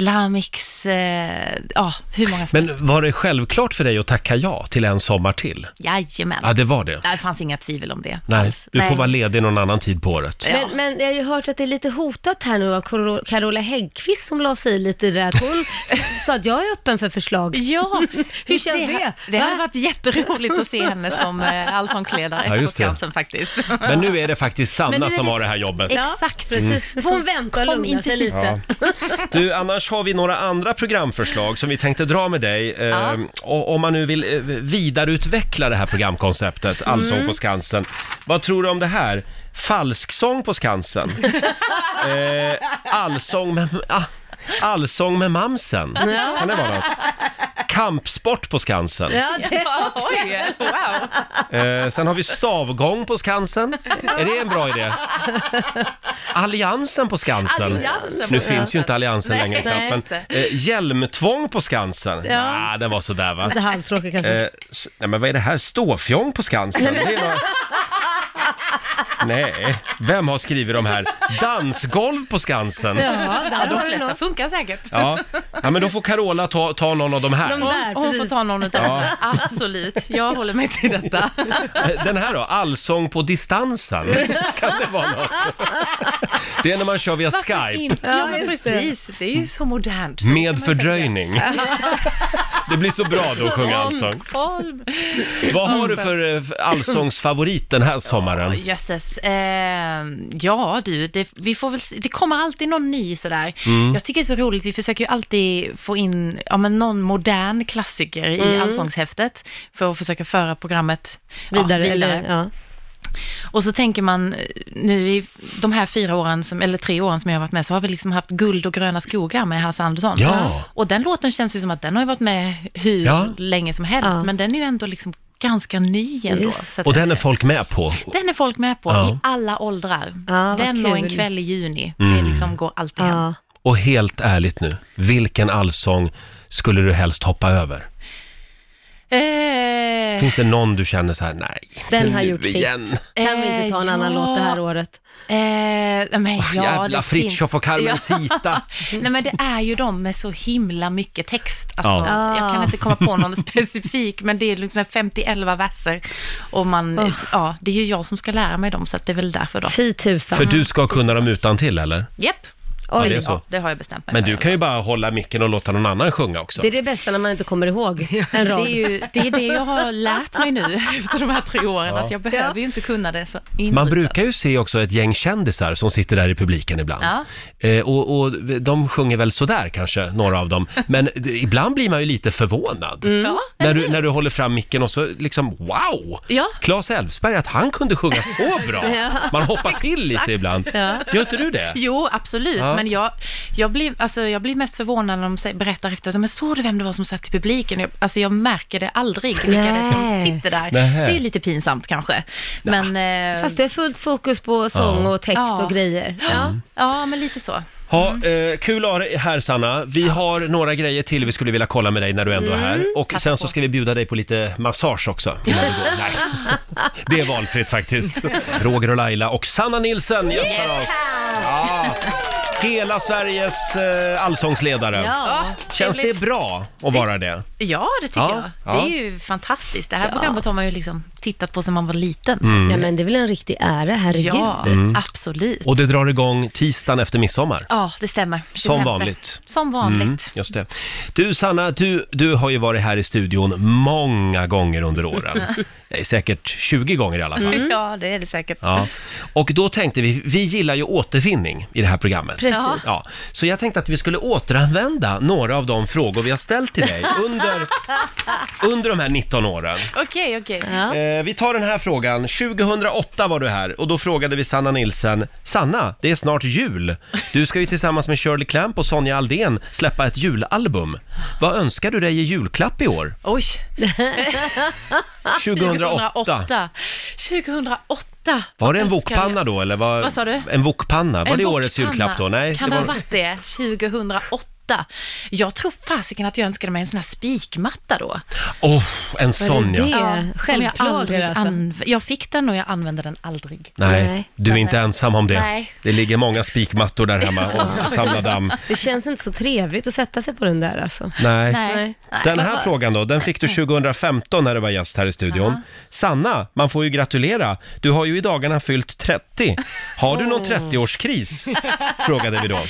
Lamix, eh, ja, hur många som Men helst. var det självklart för dig att tacka ja till en sommar till? Jajamän. Ja, det var det. Det fanns inga tvivel om det. Nej, alls. du får vara ledig någon annan tid på året. Ja. Men, men jag har ju hört att det är lite hotat här nu av Caro- Carola Häggkvist som la sig i lite i det här. att Hon sa att jag är öppen för förslag. Ja, Hur känns det? Det hade Va? varit jätteroligt att se henne som eh, allsångsledare Ja, på just det. Skansen faktiskt. Men nu är det faktiskt Men nu Sanna är som det- har det här jobbet. Exakt. Precis. Så Mm. Hon väntar och kom lugnar inte sig hit. lite. Du, annars har vi några andra programförslag som vi tänkte dra med dig. Eh, och, om man nu vill eh, vidareutveckla det här programkonceptet, Mm. Allsång på Skansen. Vad tror du om det här? Falsksång på Skansen? eh, allsång med... Ah. Allsång med mamsen, kan det vara något? Kampsport på Skansen. Ja, det, Oj, wow. Eh, sen har vi stavgång på Skansen. Är det en bra idé? Alliansen på Skansen. Alliansen på nu Skansen. finns ju inte Alliansen Nej, längre nej, knappt, just men eh, hjälmtvång på Skansen. Ja, den var sådär va. lite halvtråkigt kanske. Eh, s- nej men vad är det här? Ståfjång på Skansen? Det är något... Nej, vem har skrivit de här? Dansgolv på Skansen? Ja, där De har du flesta något. funkar säkert. Ja, ja men då får Carola ta, ta någon av de här. De där, Hon får precis. ta någon utav dem. Absolut, jag håller mig till detta. Eh, Den här då, allsång på distansen. Kan det vara något? Det är när man kör via Skype. Inte- Ja, men just det. precis. Det är ju så modernt. Så kan Med man säga. fördröjning. Det blir så bra då att sjunga allsång. Holm. Vad har du för eh, allsångsfavorit den här Ja, sommaren? Jösses. Eh, ja, du, det, vi får väl, se- det kommer alltid någon ny sådär. Mm. Jag tycker det är så roligt, vi försöker ju alltid få in ja, men någon modern klassiker i allsångshäftet för att försöka föra programmet ja, Vidare, Eller, Mm. ja. och så tänker man, eh, nu i de här fyra åren, som, eller tre åren som jag har varit med, så har vi liksom haft guld och gröna skogar med Hasse Andersson. Ja. Och den låten känns ju som att den har ju varit med hur Ja. länge som helst, Ja. men den är ju ändå liksom ganska ny ändå. Just. Så att Och den är folk med på. den är folk med på Ja. i alla åldrar. Ja, vad den och en kul. kväll i juni. Mm. Det liksom går alltid hem. Ja. Och helt ärligt nu, vilken allsång skulle du helst hoppa över? Eh, Finns det någon du känner så här, nej, Den nu har gjort sitt. igen. Kan vi inte ta en Eh, annan ja. låt det här året? eh, men ja, Jävla det Fritiof finns. och Carmen Ja. Sita. Nej men det är ju de med så himla mycket text. Alltså, Ja. Jag kan inte komma på någon specifik, men det är liksom 50-11 verser. Och man, ja, det är ju jag som ska lära mig dem, så att det är väl därför då. Fy tusan. För du ska kunna dem utan till eller? Japp, Ja, det är Oj. så. ja, det har jag bestämt mig Men för. du kan ju bara hålla micken och låta någon annan sjunga också. Det är det bästa när man inte kommer ihåg en det rad. är ju det, är det jag har lärt mig nu efter de här tre åren, att jag behöver ju inte kunna det så inrutat. Man brukar ju se också ett gäng kändisar som sitter där i publiken ibland. Ja. Eh, och, och de sjunger väl sådär kanske, några av dem. Men d- ibland blir man ju lite förvånad. Ja, När du, när du håller fram micken och så liksom, wow! Ja. Claes Elfsberg, att han kunde sjunga så bra! Man hoppar till lite ibland. Gör inte du det? Jo, absolut. Ja. Men jag, jag, blir, alltså, jag blir mest förvånad när de sä- berättar efteråt. Men såg du vem det var som satt i publiken? Jag, alltså, jag märker det aldrig, vilka det är som Nej. sitter där. Nähä. Det är lite pinsamt kanske. Men, eh, Fast du har fullt fokus på sång och text Ja. och grejer. Mm. ja, ja, men lite så. Ha, eh, kul att ha dig här Sanna. Vi har några grejer till vi skulle vilja kolla med dig när du ändå är Mm, här. Och sen så ska vi bjuda dig på lite massage också. innan du går. Nej. Det är valfritt faktiskt. Roger och Laila och Sanna Nilsson gästar oss. Ja. Hela Sveriges eh, allsångsledare. Ja, Känns det trevligt. bra att vara det? Ja, det tycker Ja, jag. Det ja. är ju fantastiskt. Det här programmet har man ju liksom tittat på sedan man var liten. Så. Mm. Ja, men det är väl en riktig ära, herregud. Ja, absolut. Och det drar igång tisdagen efter midsommar. Ja, det stämmer. 25. vanligt. Som vanligt. Mm, just det. Du Sanna, du, du har ju varit här i studion många gånger under åren. Eh, Säkert 20 gånger i alla fall. Ja, det är det säkert. Ja. Och då tänkte vi, vi gillar ju återvinning i det här programmet. Precis. Ja, så jag tänkte att vi skulle återanvända några av de frågor vi har ställt till dig under, under de här 19 åren. Okej, okej. Ja. Eh, vi tar den här frågan. 2008 var du här och då frågade vi Sanna Nilsen. Sanna, det är snart jul. Du ska ju tillsammans med Shirley Clamp och Sonja Aldén släppa ett julalbum. Vad önskar du dig i julklapp i år? Oj. Ah, 2008. 2008. Var det en Önskar wokpanna jag- då eller? Var, Vad sa du? En wokpanna, var En det årets wokpanna. julklapp då? Nej, Kan det det ha var... varit det? 2008. Jag tror fasiken att jag önskade mig en sån här spikmatta då. Åh, en sån det? ja. Ja, som jag, självklarheter aldrig alltså. anv- jag fick den och jag använde den aldrig. Nej, Nej. du är inte ensam om det. Nej. Det ligger många spikmattor där hemma och, och samlar damm. Det känns inte så trevligt att sätta sig på den där alltså. Nej. Nej. Den här frågan då, den fick du 2015 när du var gäst här i studion. Sanna, man får ju gratulera. Du har ju i dagarna fyllt 30. Har du någon 30-årskris? Frågade vi då.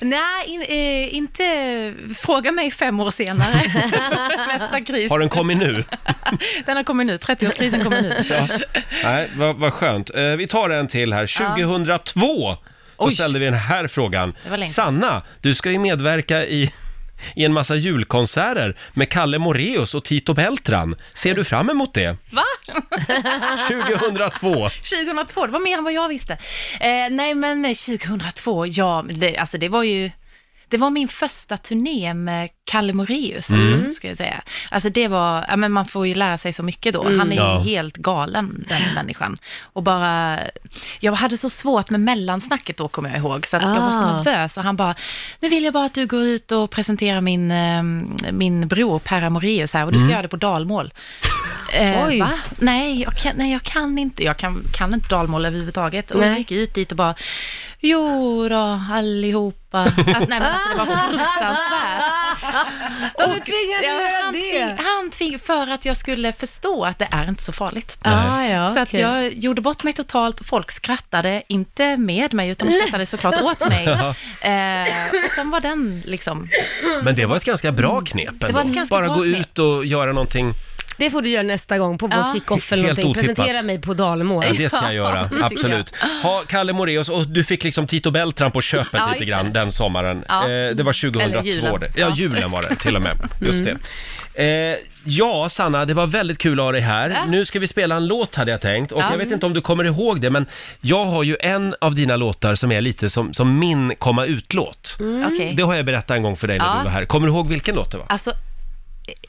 Nej, in, eh, inte fråga mig fem år senare. Nästa kris. Har den kommit nu? Den har kommit nu, 30-årskrisen kommer nu. Nej, vad, vad skönt. Eh, vi tar en till här. 2002 så Oj. ställde vi den här frågan. Det var länge. Sanna, du ska ju medverka i, i en massa julkonserter med Kalle Moreus och Tito Beltran. Ser du fram emot det? Va? 2002. 2002, det var mer än vad jag visste. Eh, nej, men 2002, ja, det, alltså det var ju... Det var min första turné med Kalle Moraeus, Mm. också, ska jag säga. Alltså det var, ja, men man får ju lära sig så mycket då. Han Mm. är ju Ja. helt galen, den människan. Och bara, jag hade så svårt med mellansnacket då, kommer jag ihåg. Så att jag var så Ah. nervös och han bara, nu vill jag bara att du går ut och presenterar min, eh, min bror Per Moraeus här och du ska göra det på dalmål. Eh, Mm. Oj. Va? Nej, jag kan, nej, jag kan inte. Jag kan, kan inte dalmål överhuvudtaget. Och jag Nej. gick ut dit och bara, jo då, allihopa. Att, nej, men alltså, det var fruktansvärt. Varför tvingade du Ja, göra han det? tving, han tving, för att jag skulle förstå att det är inte så farligt. Ah, ja, Så att okej. jag gjorde bort mig totalt. Folk skrattade, inte med mig, utan de skrattade såklart åt mig. Eh, och sen var den liksom... Men det var ett ganska bra knep ändå. var ett ganska Bara bra gå knep. ut och göra någonting. Det får du göra nästa gång på vår Ja. kick-off eller Helt någonting. otippat. Presentera mig på Dalmål. Ja, det ska jag göra. Absolut. Ha, Kalle Moreus och du fick liksom Tito Beltran på köpet Ja, lite just grann den sommaren. Ja. Eh, det var 2002. Eller julen. det. Ja, Ja. Mm. julen var det till och med. Just det. Eh, ja, Sanna, det var väldigt kul att ha dig här. Nu ska vi spela en låt hade jag tänkt och Ja. jag vet inte om du kommer ihåg det men jag har ju en av dina låtar som är lite som, som min komma ut-låt. Mm. Okej. Det har jag berättat en gång för dig när Mm. Ja. du var här. Kommer du ihåg vilken låt det var? Alltså,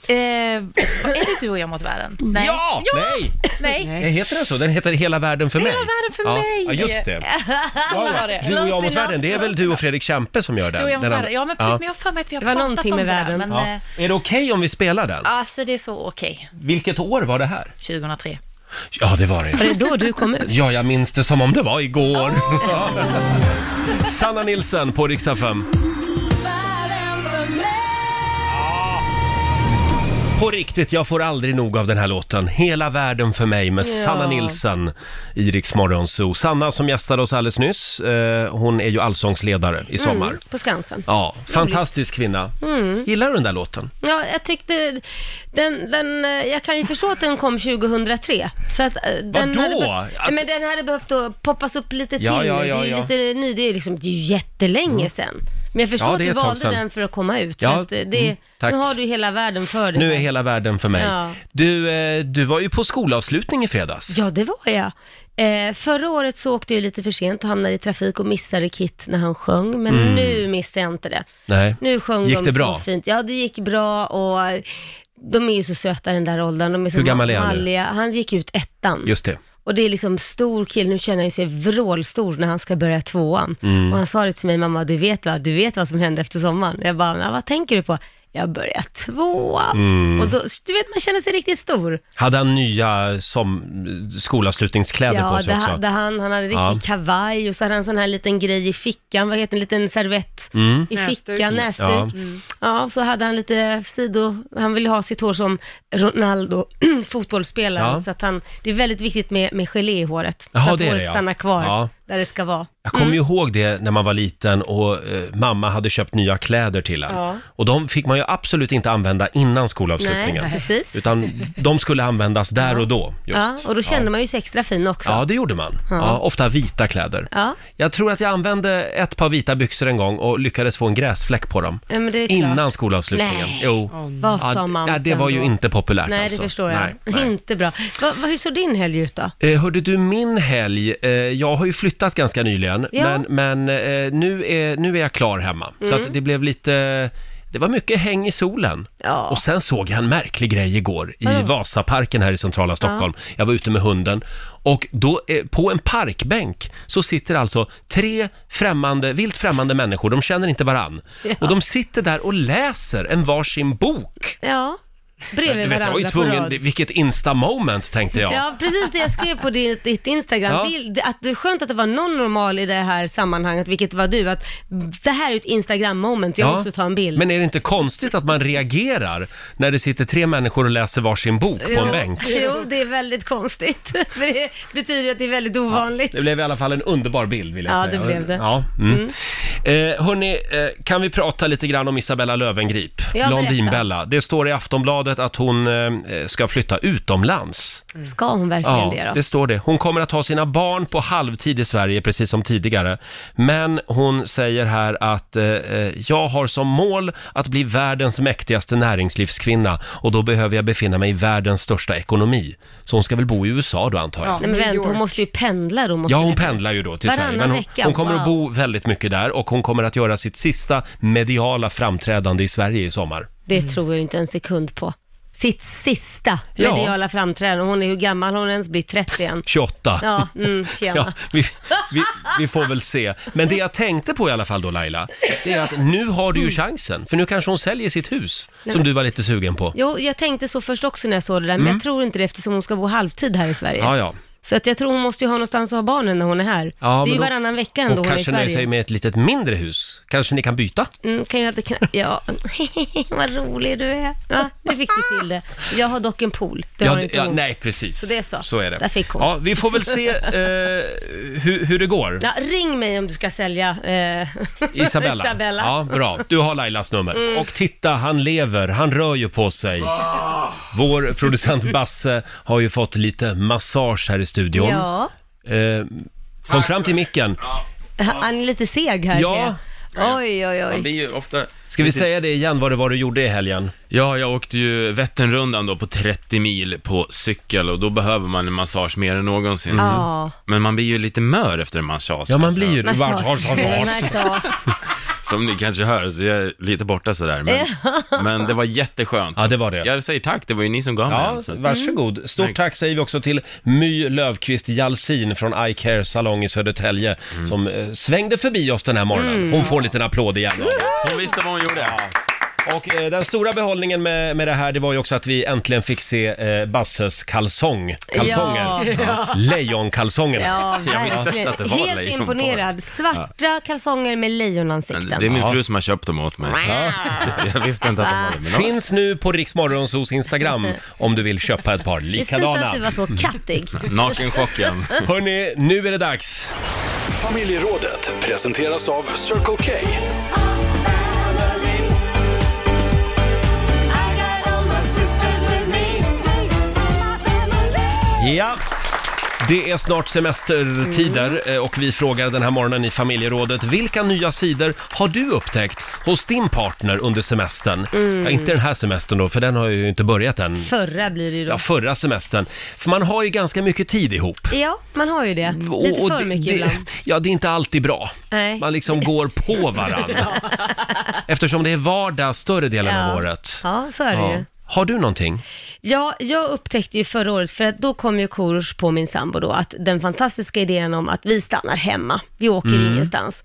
eh, är det du och jag mot världen? Nej. Ja! Nej! Nej. Nej. Heter den så? Den heter Hela världen för mig. Hela världen för ja. mig. Ja, just det. var det. Du och jag mot Close världen, det är väl du och Fredrik Kämpe som gör den? Du och jag mot den världen. Ja, men precis, Ja. men jag har för mig att vi har Det var pratat någonting om med det där, världen. Men, Ja. eh, Är det okej om vi spelar den? Alltså det är så okej. Vilket år var det här? 2003. Ja, det var det. Var det då du kom ut? Ja, jag minns det som om det var igår. Sanna Nilsson på Riksa 5. På riktigt, jag får aldrig nog av den här låten. Hela världen för mig med Sanna Nilsson i Rix Morgon Zoo. Sanna som gästade oss alldeles nyss, eh, hon är ju allsångsledare i sommar. Mm, på Skansen. Ja, fantastisk kvinna. Mm. Gillar du den där låten? Ja, jag tyckte den, den, eh, jag kan ju förstå att den kom 2003. Så att eh, den Vadå? hade behövt, Att- men den hade behövt att poppas upp lite till. Ja, ja, nu. ja, det är ju ja. Mm. lite ny, det är ju liksom, det är ju jättelänge sedan. Men jag förstår Ja, att det är du ett tag valde sedan. den för att komma ut. Ja, För att eh, det, mm, tack. nu har du hela världen för dig. Nu är hela världen för mig. Ja. Du, eh, du var ju på skolavslutning i fredags. Ja, det var jag. Eh, förra året så åkte jag lite för sent och hamnade i trafik och missade Kit när han sjöng, men Mm. nu missar jag inte det. Nej. Nu sjöng Gick de det så bra? fint. Ja, det gick bra och de är ju så söta den där åldern. De är så Hur gammal är han nu? malliga. Han gick ut ettan. Just det. Och det är liksom stor kille, nu känner jag ju sig vrålstor när han ska börja Mm. tvåan. Och han sa det till mig, mamma, du vet vad, du vet vad som hände efter sommaren. Jag bara, "Ja, vad tänker du på? jag börjar tvåan. Mm. Och då, du vet, man känner sig riktigt stor. Hade han nya som, skolavslutningskläder på Ja, sig det, också? ha- det han, han hade riktig Ja. kavaj och så hade han sån här liten grej i fickan, vad heter det, en liten servett Mm. i Näsduk. fickan, näsduk. Ja. Ja. så hade han lite sido, han ville ha sitt hår som Ronaldo, fotbollsspelare, Ja. så att han, det är väldigt viktigt med, med gelé i håret, Jaha, så att det är det, håret ja. stannar kvar Ja. där det ska vara. Jag kommer ju ihåg det när man var liten och eh, mamma hade köpt nya kläder till en. Ja. Och de fick man ju absolut inte använda innan skolavslutningen. Nej, precis. Utan de skulle användas där och då. Just. Ja, och då kände man ju sig extra fin också. Ja, det gjorde man. Ja. ofta vita kläder. Ja. Jag tror att jag använde ett par vita byxor en gång och lyckades få en gräsfläck på dem. Ja, men det är klart. Innan skolavslutningen. Nej. Jo. Vad Ja, sa d- mamsen ja, det var ju då? inte populärt Nej, alltså. det förstår jag. Nej, nej. Inte bra. Va, va, hur såg din helg ut då? Eh, hörde du, min helg, eh, jag har ju flyttat ganska nyligen, Ja. men, men eh, nu, är, nu är jag klar hemma. Så Mm. att det blev lite, det var mycket häng i solen. Ja. Och sen såg jag en märklig grej igår i Vadå? Vasaparken här i centrala Stockholm. Jag var ute med hunden och då, eh, på en parkbänk så sitter alltså tre främmande, vilt främmande människor, de känner inte varann. Ja. Och de sitter där och läser en varsin bok. Ja, Du bredvid vet, jag var varandra ju på tvungen, rad. vilket insta-moment tänkte jag. Ja, precis det jag skrev på ditt, ditt Instagram. Ja. Bild, att det är skönt att det var någon normal i det här sammanhanget, vilket var du. Att det här är ett Instagram-moment, jag Ja, måste ta en bild. Men är det inte konstigt att man reagerar när det sitter tre människor och läser varsin bok på en Jo, bänk? Jo, det är väldigt konstigt. För det betyder ju att det är väldigt ovanligt. Det blev i alla fall en underbar bild vill jag Ja, säga. det blev det. Ja, mm. Eh, hörni, eh, kan vi prata lite grann om Isabella Löwengrip? Ja, Blondinbella. Det står i Aftonbladet att hon eh, ska flytta utomlands. Ska hon verkligen det då? det står det. Hon kommer att ha sina barn på halvtid i Sverige, precis som tidigare. Men hon säger här att eh, eh, jag har som mål att bli världens mäktigaste näringslivskvinna och då behöver jag befinna mig i världens största ekonomi. Så hon ska väl bo i USA då antar jag. Ja. Ja. Nej men New vänta, hon York. måste ju pendla då. Måste hon vi- pendlar ju då till Varannan Sverige, men hon, vecka, hon kommer wow. att bo väldigt mycket där och hon kommer att göra sitt sista mediala framträdande i Sverige i sommar. Det tror jag ju inte en sekund på. Sitt sista Ja. mediala framträdande. Hon är ju gammal, har hon ens blivit 30 än? 28. Ja, mm, tjena. Ja, vi, vi, vi får väl se. Men det jag tänkte på i alla fall då Laila, det är att nu har Mm. du ju chansen. För nu kanske hon säljer sitt hus, som du var lite sugen på. Jo, jag tänkte så först också när jag såg det där, men jag tror inte det eftersom hon ska bo halvtid här i Sverige. Mm. Ja, ja. Så att jag tror hon måste ju ha någonstans att ha barnen när hon är här. Ja, det är men ju då- varannan vecka ändå Hon hon är i kanske nöjer Sverige. sig med ett litet mindre hus. Kanske ni kan byta? Mm, kan ju alltid knä... Ja, vad rolig du är. Ja, nu fick du till det. Jag har dock en pool, det har d- inte ja, hon. nej, precis. Så det är så. Så är det. Där fick hon. Ja, vi får väl se eh, hur, hur det går. Ja, ring mig om du ska sälja eh... Isabella. Isabella. Mm. Ja, bra. Du har Lailas nummer. Och titta, han lever. Han rör ju på sig. Ah. Vår producent Basse har ju fått lite massage här i studion. Ja. Eh, kom fram till micken. Han är lite seg här Ja. ser jag. Oj, oj, Man oj. blir ju ofta... Ska vi säga det igen, vad det var du gjorde i helgen? Ja, jag åkte ju Vätternrundan då på 30 mil på cykel och då behöver man en massage mer än någonsin. Så att- Ja. Men man blir ju lite mör efter en massage. Ja, man alltså. blir ju... Massage. Som ni kanske hör, så jag är lite borta sådär. Men, men det var jätteskönt. Ja, det var det. Jag säger tack, det var ju ni som gav mig Ja, den. Så att, varsågod. Stort tack säger vi också till My Lövqvist Jalsin från iCare Salong i Södertälje som eh, svängde förbi oss den här Mm. morgonen. Hon får en liten applåd igen. av oss. hon visste vad hon gjorde. Och eh, den stora behållningen med, med det här, det var ju också att vi äntligen fick se eh, Basses kalsong. Kalsonger. Ja. Lejonkalsongerna. Ja, Jag visste inte att det var verkligen. Helt lejon på imponerad. Svarta kalsonger med Men lejonansikten. Det är min Ja. fru som har köpt dem åt mig. Jag visste inte att de var det. Men de- Finns nu på Riksmorgonsos Instagram om du vill köpa ett par Visste inte att du var likadana. så kattig. Nakenchocken. Hörni, nu är det dags. Familjerådet presenteras av Circle K. Ja. Det är snart semestertider Mm. eh, och vi frågar den här morgonen i familjerådet vilka nya sidor har du upptäckt hos din partner under semestern? Mm. Ja, inte den här semestern då, för den har ju inte börjat än. Förra blir det ju då. Ja, förra semestern. För man har ju ganska mycket tid ihop. Ja, man har ju det. Lite Och- och för det- mycket det, ibland. Ja, det är inte alltid bra. Nej. Man liksom går på varandra. Eftersom det är vardag större delen Ja. av året. Ja, så är det ju. Har du någonting? Ja, jag upptäckte ju förra året, för att då kom ju Korosh Mm. på min sambo då, att den fantastiska idén om att vi stannar hemma, vi åker ingenstans.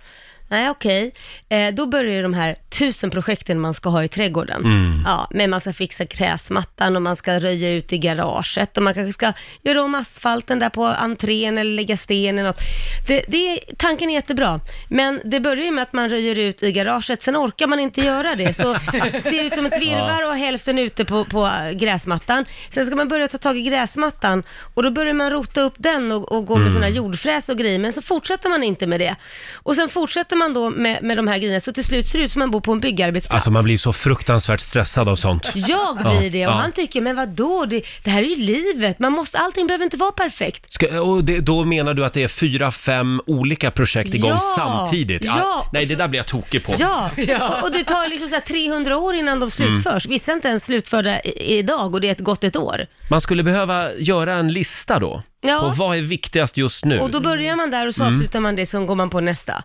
Nej, okej. Eh, då börjar ju de här tusen projekten man ska ha i trädgården. Mm. Ja, men man ska fixa gräsmattan och man ska röja ut i garaget och man kanske ska göra om asfalten där på entrén eller lägga sten eller något. Det, det, tanken är jättebra, men det börjar ju med att man röjer ut i garaget, sen orkar man inte göra det. Så ser det ut som ett virrvarr och hälften ute på, på äh, gräsmattan. Sen ska man börja ta tag i gräsmattan och då börjar man rota upp den och, och Mm. gå med sådana här jordfräs och grejer, men så fortsätter man inte med det. Och sen fortsätter man då med, med de här grejerna, så till slut ser det ut som man bor på en byggarbetsplats. Alltså man blir så fruktansvärt stressad av sånt. Jag blir det och ja. han tycker, men vadå, det, det här är ju livet, man måste, allting behöver inte vara perfekt. Ska, och det, då menar du att det är fyra, fem olika projekt igång Ja. samtidigt? Ah, Ja, nej, och det där blir jag tokig på. Ja, Och, och det tar liksom så här 300 år innan Mm. de slutförs. Vissa är inte ens slutförda i, idag och det är ett gott ett år. Man skulle behöva göra en lista då, Ja. på vad är viktigast just nu. Och då börjar man där och så Mm. avslutar man det, sen går man på nästa.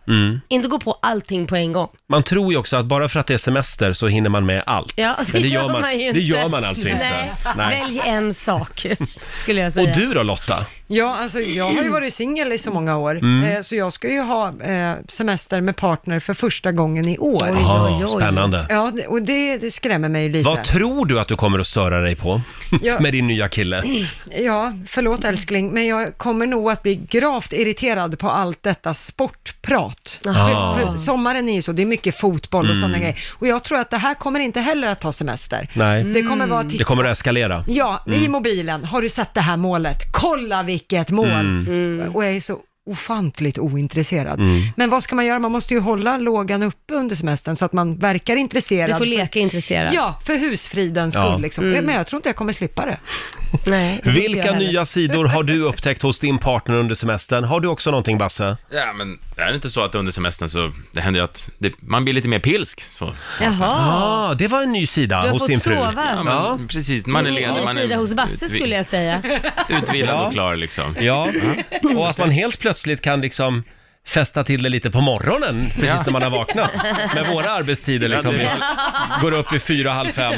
Inte gå på allting på en gång. Man tror ju också att bara för att det är semester så hinner man med allt. Ja, Men det gör man, ju inte. Det gör man alltså inte. Nej. Nej. Välj en sak, skulle jag säga. Och du då Lotta? Ja, alltså jag har ju varit singel i så många år, Mm. eh, så jag ska ju ha eh, semester med partner för första gången i år. Oj. Aha, Ah, spännande. Ja, det- och det, det skrämmer mig ju lite. Vad tror du att du kommer att störa dig på Ja. med din nya kille? Mm. Ja, förlåt älskling, men jag kommer nog att bli gravt irriterad på allt detta sportprat. Ah. Mm. För, för sommaren är ju så, det är mycket fotboll och sådana grejer. Och jag tror att det här kommer inte heller att ta semester. Nej, Det kommer vara att det titta kommer att eskalera. Mm. Ja, i Mm. mobilen. Har du sett det här målet? Kolla vilket mål! Mm. Mm. Och jag är så ofantligt ointresserad. Men vad ska man göra? Man måste ju hålla lågan uppe under semestern så att man verkar intresserad. Du får Mm. leka intresserad. Ja, för husfridens skull Ja. liksom. Men jag tror inte jag kommer slippa det. Nej, det tycker Vilka jag heller. nya sidor har du upptäckt hos din partner under semestern? Har du också någonting Basse? Ja, men är det inte så att under semestern så, det händer ju att det, man blir lite mer pilsk. Så. Jaha, ah, det var en ny sida du har hos fått din fru. sova. Ja, men, precis. Man är ledig, Ny man sida är Mm. hos Basse utvi- skulle jag säga. utvilad Ja. och klar liksom. Ja, Mm. och att man helt plötsligt kan liksom festa till det lite på morgonen, precis när man har vaknat. Med våra arbetstider liksom, vi går upp vid fyra, halv fem.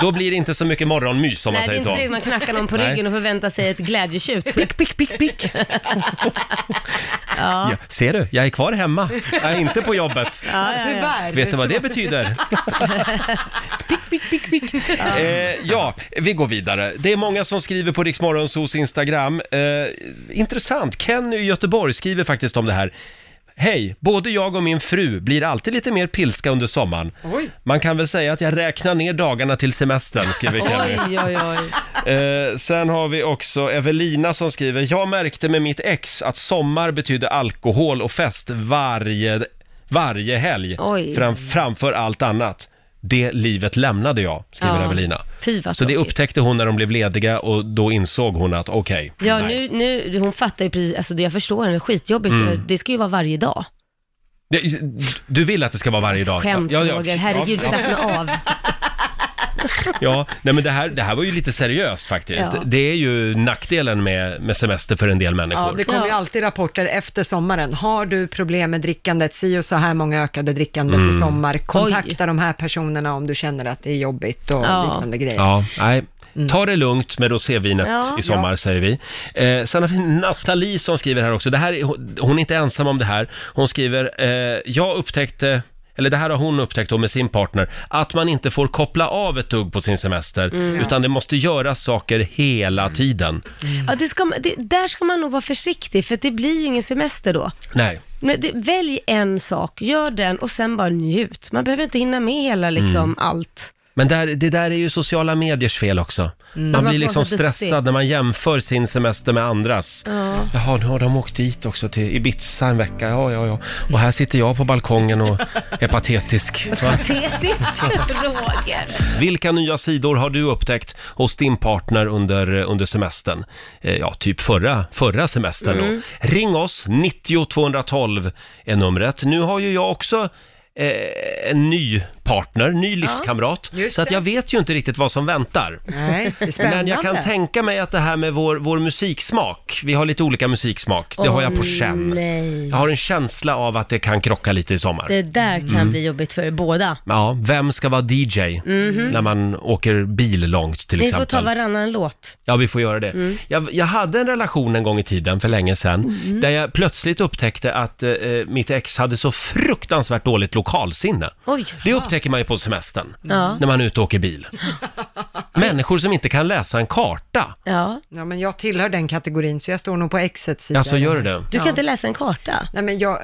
Då blir det inte så mycket morgonmys om man Nej, det är säger inte så. det man knackar någon på Nej. ryggen och förväntar sig ett glädjetjut. Pick, pick, pick. Ja. ser du, jag är kvar hemma. Jag är inte på jobbet. Ah, Ja, ja, ja. Tyvärr. Vet du vad så- det betyder? Eh, ja, vi går vidare. Det är många som skriver på Riksmorgonsos Instagram. Eh, intressant, Kenny i Göteborg skriver faktiskt om det här. Hej, både jag och min fru blir alltid lite mer pilska under sommaren. Oj. Man kan väl säga att jag räknar ner dagarna till semestern, skriver Kenny. Oj, oj, oj. Eh, sen har vi också Evelina som skriver, jag märkte med mitt ex att sommar betyder alkohol och fest varje, varje helg Oj. fram, framför allt annat. Det livet lämnade jag, skriver Ja. Evelina. Fy, vad Så det tråkigt. upptäckte hon när de blev lediga och då insåg hon att okej, Ja, nej. Mm. nu, nu, hon fattar ju precis, alltså det jag förstår henne, skitjobbigt, det ska ju vara varje dag. Det- Du vill att det ska vara varje dag? Skämt ja, ja, Roger, herregud Ja, Mm. slappna av. ja. Nej, men det här, det här var ju lite seriöst faktiskt. Ja. Det är ju nackdelen med, med semester för en del människor. Ja, det kommer ju Ja. alltid rapporter efter sommaren. Har du problem med drickandet, si och så här många ökade drickandet i Mm. sommar. Kontakta de här personerna om du känner att det är jobbigt och Ja. liknande grejer. Ja, nej. Ta det lugnt med rosévinet Mm. Ja. i sommar, säger vi. Eh, sen har vi Nathalie som skriver här också. Det här är, hon- hon är inte ensam om det här. Hon skriver, eh, jag upptäckte, eller det här har hon upptäckt då med sin partner, att man inte får koppla av ett dugg på sin semester, Mm. utan det måste göras saker hela tiden. Ja, det ska, man- det, där ska man nog vara försiktig, för det blir ju ingen semester då. Nej. Men det, välj en sak, gör den och sen bara njut. Man behöver inte hinna med hela liksom Mm. allt. Men där, det där är ju sociala mediers fel också. Man Mm. man blir får liksom vara så duktig. stressad när man jämför sin semester med andras. Jaha, nu har de åkt dit också till Ibiza en vecka. Ja, ja, ja. Och här sitter jag på balkongen och är patetisk. Va? Patetiskt, Roger. Vilka nya sidor har du upptäckt hos din partner under, under semestern? Eh, Ja, typ förra, förra semestern Mm. då. Ring oss, 90 212 är numret. Nu har ju jag också eh, en ny partner, ny livskamrat. just så att det. jag vet ju inte riktigt vad som väntar. Nej, det är spännande. Men jag kan tänka mig att det här med vår, vår musiksmak, vi har lite olika musiksmak, det har jag på känn. Nej, Jag har en känsla av att det kan krocka lite i sommar. det där kan Mm. bli jobbigt för er båda. Ja, vem ska vara DJ när man åker bil långt till Ni Mhm. får ta Mm. exempel? varannan låt. Ja, vi får göra det. Jag, jag hade en relation en gång i tiden, för länge sedan, Mm. där jag plötsligt upptäckte att eh, eh, mitt ex hade så fruktansvärt dåligt lokalsinne. Oj. Det upptäcker man ju på semestern, Ja. när man är ute och åker bil. Människor som inte kan läsa en karta. Ja. Ja, men jag tillhör den kategorin, så jag står nog på exets sida. Alltså, gör du det? Du kan inte läsa en karta. Nej, men jag,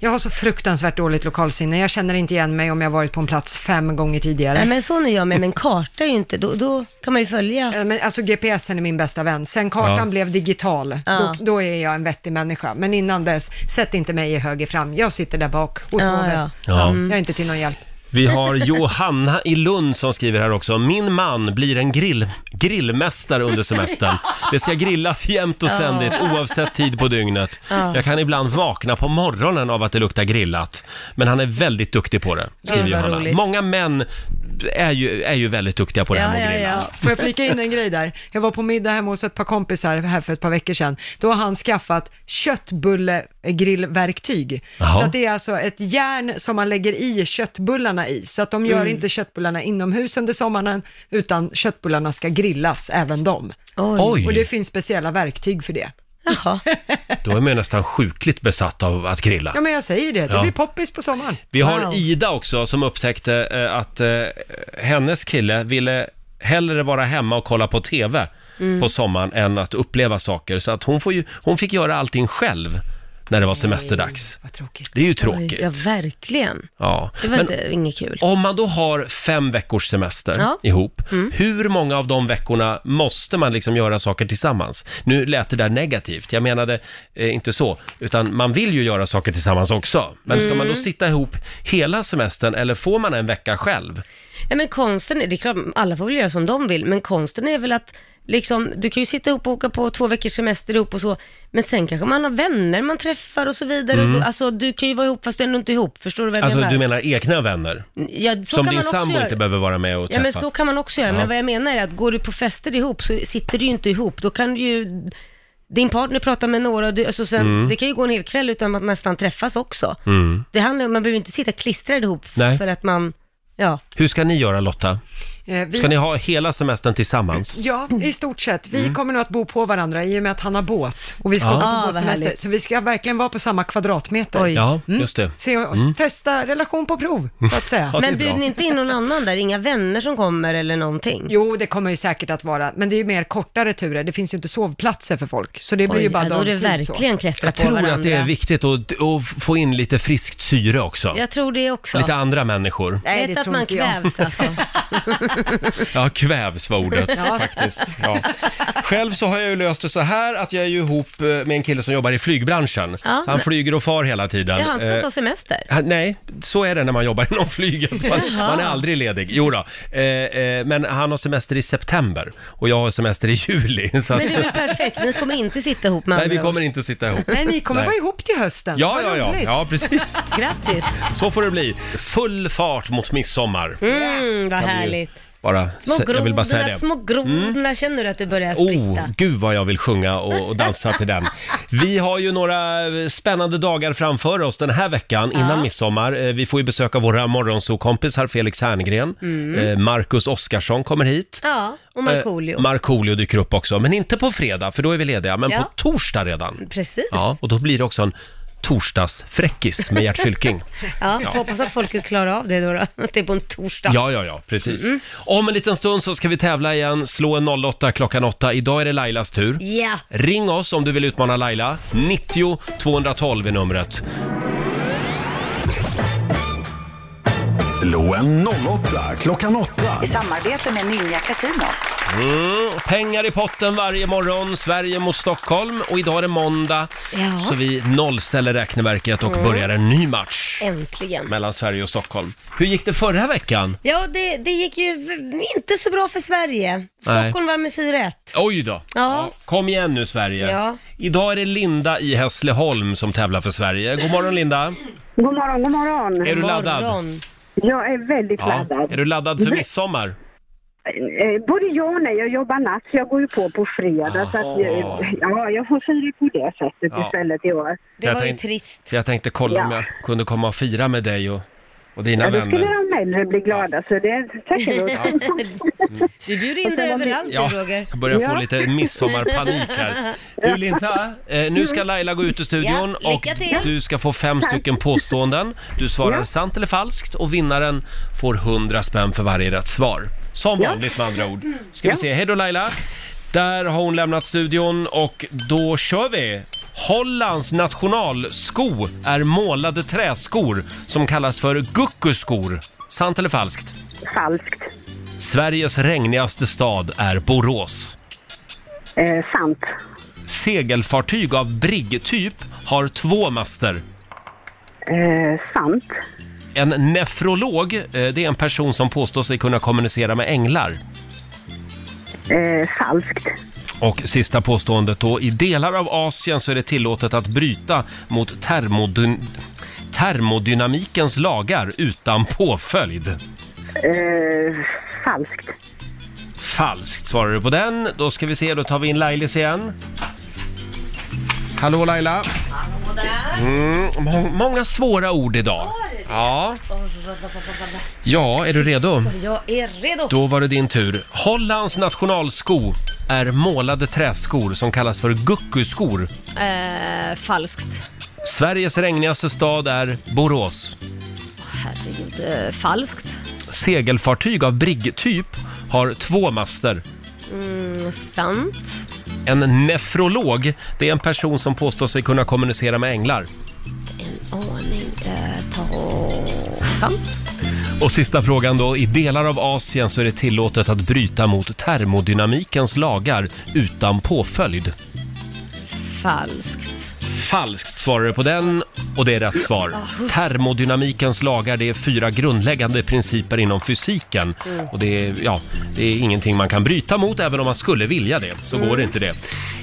jag har så fruktansvärt dåligt lokalsinne. Jag känner inte igen mig om jag varit på en plats fem gånger tidigare. Nej men så är jag med, men karta är ju inte, då, då kan man ju följa. Eh, Men alltså GPSen är min bästa vän. Sen kartan Ja. blev digital, Ja. då, då är jag en vettig människa. Men innan dess, sätt inte mig i höger fram. Jag sitter där bak och Ja, sover. ja. Ja. Jag är inte till någon hjälp. Vi har Johanna i Lund som skriver här också. Min man blir en grill, grillmästare under semestern. Det ska grillas jämt och ständigt oavsett tid på dygnet. Jag kan ibland vakna på morgonen av att det luktar grillat. Men han är väldigt duktig på det, skriver vad Johanna. roligt. Många män är ju, är ju väldigt duktiga på det här med att grilla. Får jag flika in en grej där? Jag var på middag hemma hos ett par kompisar här för ett par veckor sedan. Då har han skaffat köttbullegrillverktyg. Jaha. Så att det är alltså ett järn som man lägger i köttbullarna i. Så att de Mm. gör inte köttbullarna inomhus under sommaren, utan köttbullarna ska grillas, även de. Oj. Oj, Och det finns speciella verktyg för det. Jaha. då är man ju nästan sjukligt besatt av att grilla. Ja, men jag säger det. Det Ja. blir poppis på sommaren. Vi har Wow. Ida också som upptäckte eh, att eh, hennes kille ville hellre vara hemma och kolla på TV Mm. på sommaren än att uppleva saker. Så att hon, får ju, hon fick göra allting själv när det var semesterdags. Vad tråkigt. Det är ju Oj, ja, tråkigt. verkligen. Ja. Det var Men inte, inget kul. om man då har fem veckors semester Ja. Mm. ihop, hur många av de veckorna måste man liksom göra saker tillsammans? Nu lät det där negativt, jag menade eh, inte så, utan man vill ju göra saker tillsammans också. Men ska Mm. man då sitta ihop hela semestern eller får man en vecka själv? Nej, men konsten, är- det är klart, alla får väl göra som de vill, men konsten är väl att liksom, du kan ju sitta ihop och åka på två veckors semester ihop och så, men sen kanske man har vänner man träffar och så vidare. Och då, alltså, du kan ju vara ihop fast du ändå inte är ihop, förstår du vad jag Mm. Alltså menar? du menar egna vänner? ja, så som kan din man också sambo göra. inte behöver vara med och Ja träffa? men så kan man också göra, Ja. men vad jag menar är att går du på fester ihop så sitter du ju inte ihop, då kan du ju din partner pratar med några, och du, alltså sen, Mm. det kan ju gå en hel kväll utan att nästan träffas också. Det handlar om, man behöver ju inte sitta klistrad ihop Nej. för att man, ja. Hur ska ni göra Lotta? Eh, vi- Ska ni ha hela semestern tillsammans? Ja, i stort sett. Vi kommer nog att bo på varandra i och med att han har båt och vi ska Ja. åka Ah, på vad båtsemester. härligt. Så vi ska verkligen vara på samma kvadratmeter. Oj. Ja, just det. Se, och- Testa relation på prov, så att säga. Ja, det är Men bjuder bra. ni inte in någon annan där? Inga vänner som kommer eller någonting? Jo, det kommer ju säkert att vara, men det är ju mer kortare turer. Det finns ju inte sovplatser för folk, så det blir ju bara ja, då är det dagtid verkligen klättra Jag på tror varandra. att det är viktigt att, att få in lite friskt syre också. Jag tror det också. Lite andra människor. så. Nej, Lätt det att tror man inte jag. kvävs alltså. Ja, kvävs var ordet faktiskt. Ja. Själv så har jag ju löst det så här att jag är ju ihop eh, med en kille som jobbar i flygbranschen. Ja, så han men- flyger och far hela Det tiden. är han som Eh, tar semester. han- Nej, så är det när man jobbar inom flyget. Man, Jaha. man är aldrig ledig. Jo då. Eh, eh, men han har semester i september och jag har semester i juli. Så att, Men det är väl perfekt, ni kommer inte sitta ihop med nej, vi andra kommer ord. inte sitta ihop. Nej, ni kommer Nej. vara ihop till hösten. Ja, Vad ja, ja, roligt. ja, precis. Grattis! Så får det bli. Full fart mot midsommar. Mm, vad Kan vi ju härligt. Bara, Små jag vill bara säga grodorna, det. Mm. små grodorna, känner du att det börjar spritta? Oh, gud vad jag vill sjunga och, och dansa till den. Vi har ju några eh, spännande dagar framför oss den här veckan innan midsommar. Eh, Vi får ju besöka våra morgonsokompisar Felix Herngren. Eh, Marcus Oskarsson kommer hit. Mm. Ja, och Markoolio. Eh, Markoolio dyker upp också, men inte på fredag för då är vi lediga, men Ja. på torsdag redan. Precis. Ja, Ja. och då blir det också en torsdagsfräckis med Gert Fylking. får Hoppas att folket klarar av det då, då. Att det är på en torsdag. Ja, ja, ja, precis. Mm. Om en liten stund så ska vi tävla igen. Slå en 08 klockan 8. Idag är det Lailas tur. Ja. Ring oss om du vill utmana Laila. 90 212 är numret. Slå en 08 klockan 8. I samarbete med Ninja Casino. Mm, pengar i potten varje morgon, Sverige mot Stockholm. Och idag är det måndag, Ja. Mm. så vi nollställer räkneverket och börjar en ny match Äntligen. mellan Sverige och Stockholm. Hur gick det förra veckan? Ja, det, det gick ju v- inte så bra för Sverige. Stockholm vann med 4-1. Oj då! Ja. Kom igen nu Sverige! Ja. Idag är det Linda i Hässleholm som tävlar för Sverige. God morgon Linda! God morgon, god morgon. Är du Morgon. laddad? Jag är väldigt Ja. laddad. Är du laddad för midsommar? Eh, Både ja och nej. Jag jobbar natt, så jag går ju på på fredag. Så att, eh, ja, jag får fira på det sättet Ja. istället i år. Jag tänkte- Så jag tänkte kolla om Ja. jag kunde komma och fira med dig och, och dina Ja, då skulle vänner. de äldre bli glada, så det tackar vi oss. Du bjuder in dig överallt Ja, du, Roger. jag börjar få lite midsommarpanik här. Du Linda, eh, nu ska Laila gå ut ur studion Ja, och lycka till. du ska få fem stycken påståenden. Du svarar sant eller falskt och vinnaren får 100 spänn för varje rätt svar. Som Ja. vanligt med andra ord. Ska Ja. vi se, hej då Laila. Där har hon lämnat studion och då kör vi! Hollands nationalsko är målade träskor som kallas för guckuskor. Sant eller falskt? Falskt. Sveriges regnigaste stad är Borås. Eh, sant. Segelfartyg av briggtyp har två master. Eh, sant. En nefrolog, eh, det är en person som påstår sig kunna kommunicera med änglar. Eh, falskt. Och sista påståendet då, i delar av Asien så är det tillåtet att bryta mot termodyn termodynamikens lagar utan påföljd. Eh, falskt. Falskt svarar du på den. Då ska vi se, då tar vi in Lailis igen. Hallå Laila! Mm, må- många svåra ord idag. Ja. ja, är du redo? Så jag är redo. Då var det din tur. Hollands nationalsko är målade träskor som kallas för guckuskor. Eh, falskt. Sveriges regnigaste stad är Borås. Herregud, eh, falskt. Segelfartyg av briggtyp har två master. Mm, sant. En nefrolog, det är en person som påstår sig kunna kommunicera med änglar. En aning. Eh, ta... Sant. Och sista frågan då. I delar av Asien så är det tillåtet att bryta mot termodynamikens lagar utan påföljd. Falskt. Falskt svarar du på den och det är rätt svar. Termodynamikens lagar, det är fyra grundläggande principer inom fysiken. Mm. Och det är, ja, det är ingenting man kan bryta mot, även om man skulle vilja det, så Mm. går det inte det.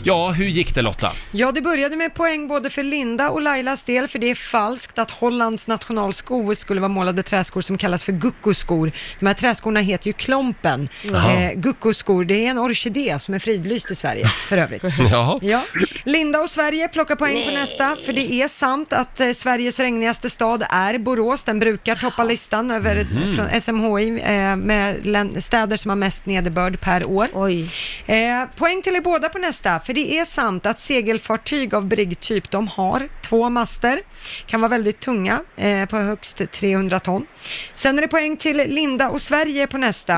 Ja, hur gick det Lotta? Ja, det började med poäng både för Linda och Lailas del, för det är falskt att Hollands nationalsko skulle vara målade träskor som kallas för guckoskor. De här träskorna heter ju klompen. Jaha. Eh, guckoskor, det är en orkidé som är fridlyst i Sverige, för övrigt. Jaha. Ja. Linda och Sverige plockar poäng på Nej. nästa, för det är sant att eh, Sveriges regnigaste stad är Borås. Den brukar toppa listan över Mhm. från SMHI eh, med län- städer som har mest nederbörd per år. Eh, poäng till er båda på nästa, för det är sant att segelfartyg av bryggtyp, de har två master, kan vara väldigt tunga, eh, på högst 300 ton. Sen är det poäng till Linda och Sverige på nästa,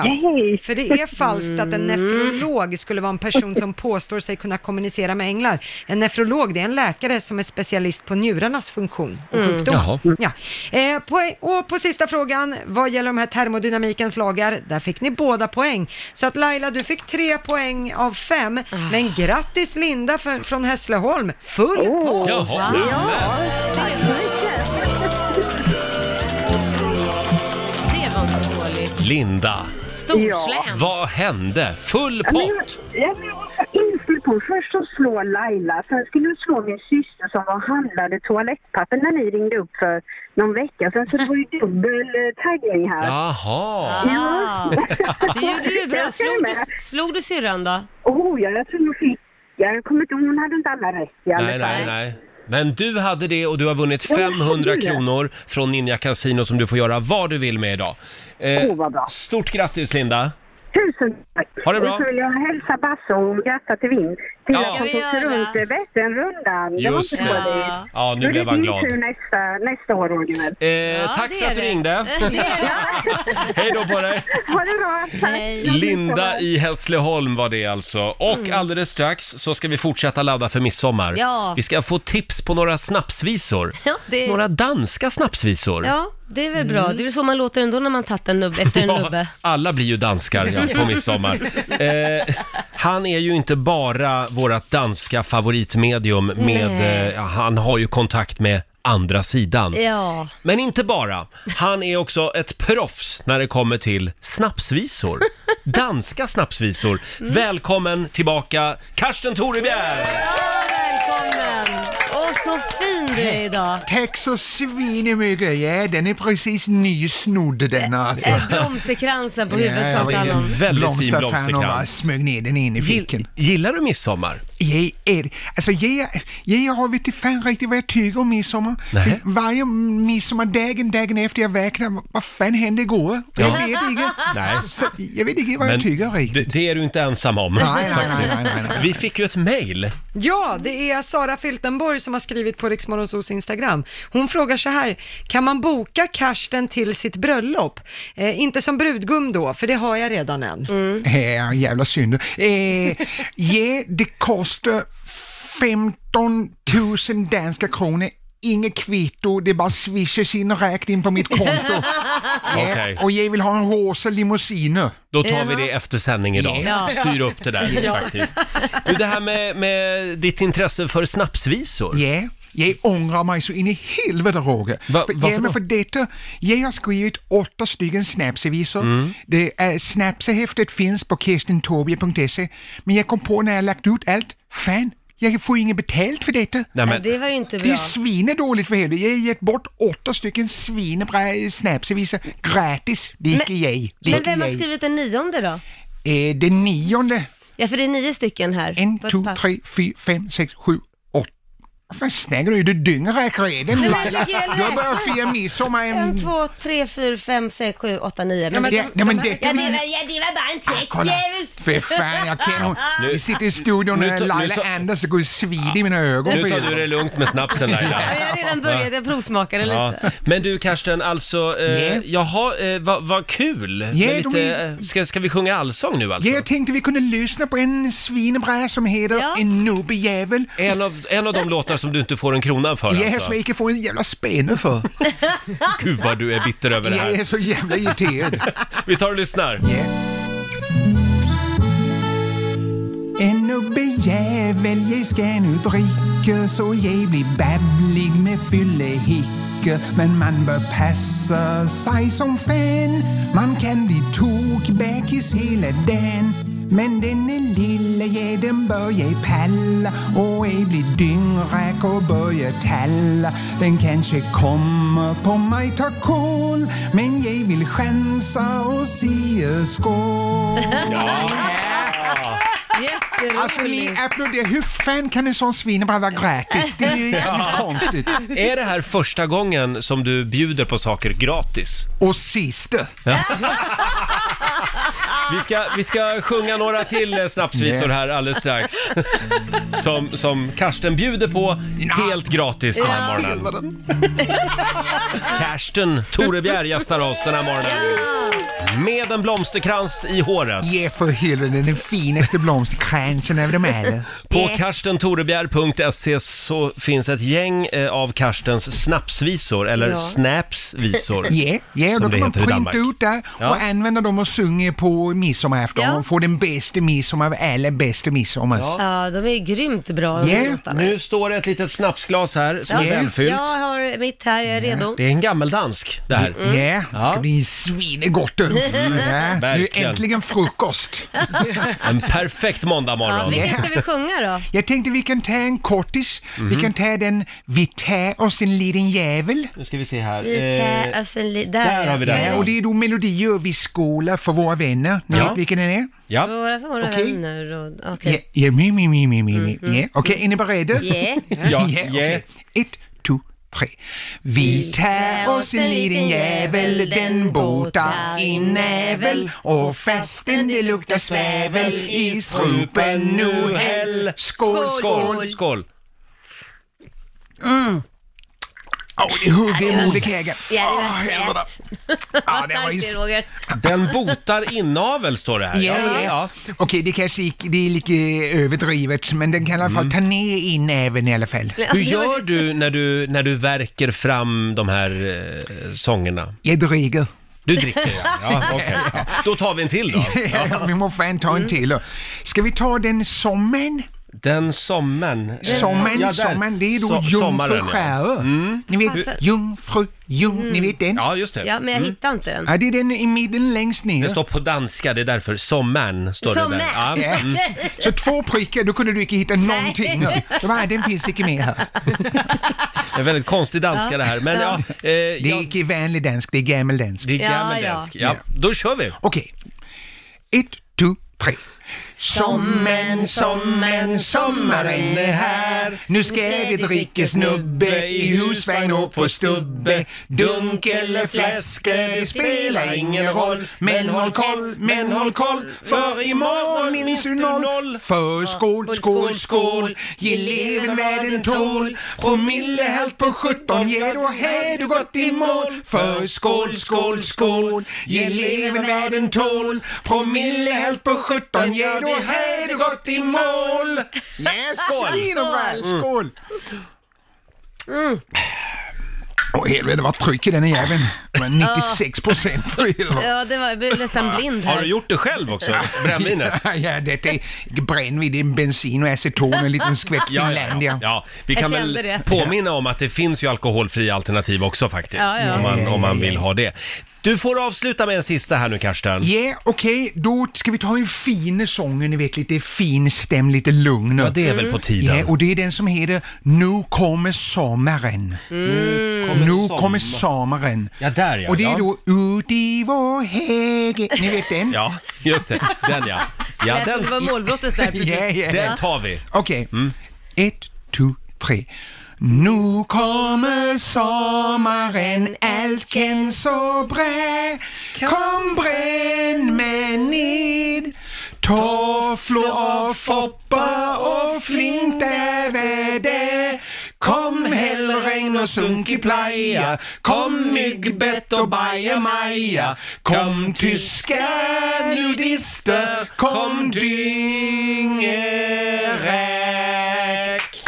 för det är falskt att en nefrolog skulle vara en person som påstår sig kunna kommunicera med änglar. En nefrolog, det är en läkare som är specialist på njurarnas funktion och Mm. sjukdom. Jaha. Ja. Eh, poäng, och på sista frågan, vad gäller de här termodynamikens lagar, där fick ni båda poäng. Så att Laila, du fick tre poäng av fem, men grattis Linda för, från Hässleholm, full pott! Jaha. Ja. Tack så mycket. Det var inte dåligt. Linda, Storslän. vad hände? Full Ja, men pott! jag, jag, jag var så inställd på först så slå Laila, sen skulle du slå min syster som var och handlade toalettpapper när ni ringde upp för någon vecka sedan. Så det var ju dubbel eh, taggning här. Jaha! Ah. Ja. Det gjorde du bra. Slog du, slog du syrran då? Oh, ja, jag tror jag fick. Jag kommer inte ihåg, hon hade inte alla rätt i alla Nej, nej, fall. nej. Men du hade det och du har vunnit Ja, jag hade 500 det. kronor från Ninja Casino som du får göra vad du vill med idag. Eh, Åh, vad bra. Stort grattis Linda! Tusen tack! Ha det bra. Och så vill jag hälsa Basse och gratta till Vin till Ja. att han Ska vi tog sig göra? runt eh, Vätternrundan. Just det. var det. inte dåligt. Ja. Ja, nu Då är blev det han din glad. tur nästa, nästa år, Roger. Eh, tack för att du ringde! Hej då på dig! ha det bra! Hej! Linda i Hässleholm var det alltså. Och alldeles strax så ska vi fortsätta ladda för midsommar. Mm. Ja. Vi ska få tips på några snapsvisor. Ja, det- Några danska snapsvisor. Ja, det är väl bra. Mm. Det är väl så man låter ändå när man tagit en nubbe efter en Ja, nubbe. alla blir ju danskar ja, på midsommar. Eh, han är ju inte bara vårt danska favoritmedium med, Nej. eh, ja, han har ju kontakt med andra sidan. Ja. Men inte bara, han är också ett proffs när det kommer till snapsvisor. Danska snapsvisor. Välkommen tillbaka Karsten Torebjer! Välkommen! Och Så fin du är idag. Tack så svinemycket! Ja, den är precis nysnodd den alltså. Eh, Blomsterkransen på Ja, huvudet jag pratade är han om. Väldigt en fin blomsterfan och blomsterkrans. bara smög ner den in i fickan. Gillar du midsommar? Jag, är, alltså jag, jag har vet inte fan riktigt vad jag tycker om midsommar. Nej. För Varje midsommardagen, dagen efter jag vaknar, vad fan hände igår? Jag Ja. vet inte. Nej. Så, jag vet inte vad jag tycker. det, det är du inte ensam om. Nej, nej, nej, faktiskt. nej, nej, nej. Vi fick ju ett mejl. Ja, det är Sara Filtenborg som har skrivit på Riksmorgonsos Instagram. Hon frågar så här, kan man boka Karsten till sitt bröllop? Eh, inte som brudgum då, för det har jag redan en. Ja, jävla synd. Eh, ja, det kostar 15 000 danska kronor. Inget kvitto, det bara swishas in och räknas in på mitt konto. Ja, Okej. Och jag vill ha en rosa limousine. Då tar vi det efter sändning idag. Ja. Styr upp det där Ja. faktiskt. Du, det här med, med ditt intresse för snapsvisor. Ja, jag ångrar mig så in i helvete Roger. för, varför ja, men då? för detta, jag har skrivit åtta stycken snapsvisor. Det är, snapsehäftet finns på kirstintobie.se, men jag kom på när jag lagt ut allt, fan, jag får inget betalt för detta. Nej, men- Det var ju inte Det är bra. svinedåligt för helvete. Jag har gett bort åtta stycken svinebra snapsvisor gratis. Det är inte jag. Det är Men inte vem har jag. skrivit den nionde då? Eh, Den nionde, Ja, för det är nio stycken här. en, på ett två, papp. tre, fyra, fem, sex, sju, åtta. Vad fan snackar du? Du dyngräker redan Men Laila. jag räknar. Jag börjar fira midsommar. En, En... två, tre, fyra, fem, sex, sju, åtta, nio. Ja, men det- nej, men det- ja, det, var, ja, det var bara en Ah, Kolla, textjävel. för fan jag kan hon. Vi sitter i studion Nu och tar- Laila nu tar- andas, det går svid i mina ögon. Nu för tar helvete. du det lugnt med snapsen Laila. Ja, jag har redan börjat, jag provsmakade Ja. lite. Men du Karsten, alltså, eh, jaha, eh, vad vad kul! Med Ja, de lite, är- eh, ska, ska vi sjunga allsång nu alltså? Ja, jag tänkte vi kunde lyssna på en svinebra som heter En nubbejävel. En, av, en av de låtar som du inte får en krona för Jag alltså? som jag inte får en jävla spänne för. Gud vad du är bitter över det Jag är här. så jävla irriterad. Vi tar och lyssnar. En nubbejävel jag ska nu dricka så jag blir babblig med fyllehicka Men man bör passa sig som fan Man kan bli tokbäkis hela dagen Men denne lilla ja, den bör jag palla och ej bli dyngräk och börja talla Den kanske kommer på mig ta kål men jag vill chansa och säga skål Jätteroligt. Alltså ni applåderar, hur fan kan en sån svinebra vara gratis? Det är ju jävligt konstigt. Är det här första gången som du bjuder på saker gratis? Och sista. Vi ska, vi ska sjunga några till eh, snapsvisor här alldeles strax. Som, som Karsten bjuder på helt gratis den här morgonen. Karsten Torebjer gästar oss den här morgonen. Med en blomsterkrans i håret. Ge för helvete den finaste blomsterkransen av dem alla. På karstentorebjer.se så finns ett gäng eh, av Karstens snapsvisor, eller Ja. snapsvisor. Ja, ja som då det kan man heter i printa Danmark. ut det och Ja. använda dem och sjunga på midsommarafton Ja. och få den bästa midsommar av alla bästa midsommar. Ja, de är grymt bra. de Ja. låtarna. Nu står det ett litet snapsglas här som är Ja. välfyllt. Jag har mitt här, jag är redo. Det är en gammeldansk det här. Ja, det ska bli svinegott. Mm. Ja. Nu Verkligen. äntligen frukost. En perfekt Ja, måndagmorgon. vilken ska vi sjunga då? Jag tänkte vi kan ta en kortis, vi Mhm. kan ta den Vi tar oss en liten jävel. Nu ska vi se här. Vi tar Eh, oss en alltså, li- där har vi den. Ja, och det är då melodier vi skålar för våra vänner. Ni Ja. vet vilken den är? Ja. Våra, våra Okej. vänner och... Ja, Okej. ja mi, mi, mi, mi, mi, mi. Ja. Okej, är ni beredda? Ja. Mhm. ja, okej. Ett, två, tre. Vi tar oss en liten jävel, den botar i nävel och fastän det luktar svävel i strupen nu häll. Skål, skål! Skål! Skål! Mm. Åh, det hugger i moderkäken. Ja, det Åh, var helvete. snällt. Vad Ah, det var ju- starkt det är, Roger. Den botar inavel står det här. Ja, ja. Okej, det kanske gick, det är lite överdrivet, men den kan i alla fall ta ner in även i alla fall. Hur gör du när du, när du verkar fram de här eh, sångerna? Jag dricker. Du dricker ja, ja okej. Ja. Mm. Då tar vi en till då. Ja. Vi må fan ta en till. då. Ska vi ta den sommaren? Den sommaren. eh, Sommaren, ja, där. sommaren, det är då So- sommaren, ja. Jungfruskärö. Ni vet, Fasen. Jungfru, Jung, ni vet den? Ja, just det. Ja, men jag Mm. hittar inte den. Ja, det är den i mitten längst ner. Det står på danska, det är därför. Sommaren står det där. Ja, Ja. mm. Så två prickar, då kunde du inte hitta någonting. Det var, den finns inte med här. Det är väldigt konstig danska Ja. det här. Men ja, eh, det är inte vanlig dansk, det är gammeldansk. det är gammeldansk. Ja, då kör vi. Okej. Ett, två, tre. Sommen, sommen, sommaren är här Nu ska vi dricka snubbe i husvagn och på stubbe Dunk eller fläske, det spelar ingen roll Men håll koll, men håll koll För imorgon minns du noll För skål, skål, skål Ge leven vad den tål Promillehalt på 17 Ja, då har du gått i mål För skål, skål, skål Ge leven vad den tål Promillehalt på 17 Ja, då har du gått i mål Yes, Skål. svin och brall, Mm. Skål! Mm. Åh helvete vad tryck i den jäveln. Det var 96 procent för helvete. Ja, det var, jag blev nästan blind här. Ah. Har du gjort det själv också? Brännvinet? Ja, ja, det är brännvin, det är bensin och aceton och en liten skvätt Ja, ja, Finlandia. ja. ja, vi Jag kan väl kände det. påminna om att det finns ju alkoholfria alternativ också faktiskt. Ja, ja. Om, man, om man vill ha det. Du får avsluta med en sista här nu Karsten. Ja, okej, då ska vi ta en fin sång, ni vet lite fin stäm, lite lugn. Mm. Ja, det är väl på tiden. Ja, och det är den som heter Nu kommer sommaren. Mm. Nu kommer Mm. Nu sommar- kommer sommaren. Ja, där ja. Och det är ja. då ut i vår häge. Ni vet den? Ja, just det. Den ja. Ja, Jag trodde den, det var målbrottet där precis. Ja, ja. den tar vi. Okej. Ett, två, tre. Nu kommer sommaren, allt känns så bra. Kom bränn mig ned. Tofflor och foppar och flinta väder. Kom hellregn och sunkig playa. Kom myggbett och bajamaja. Kom tyska nudister. Kom dyngeräk.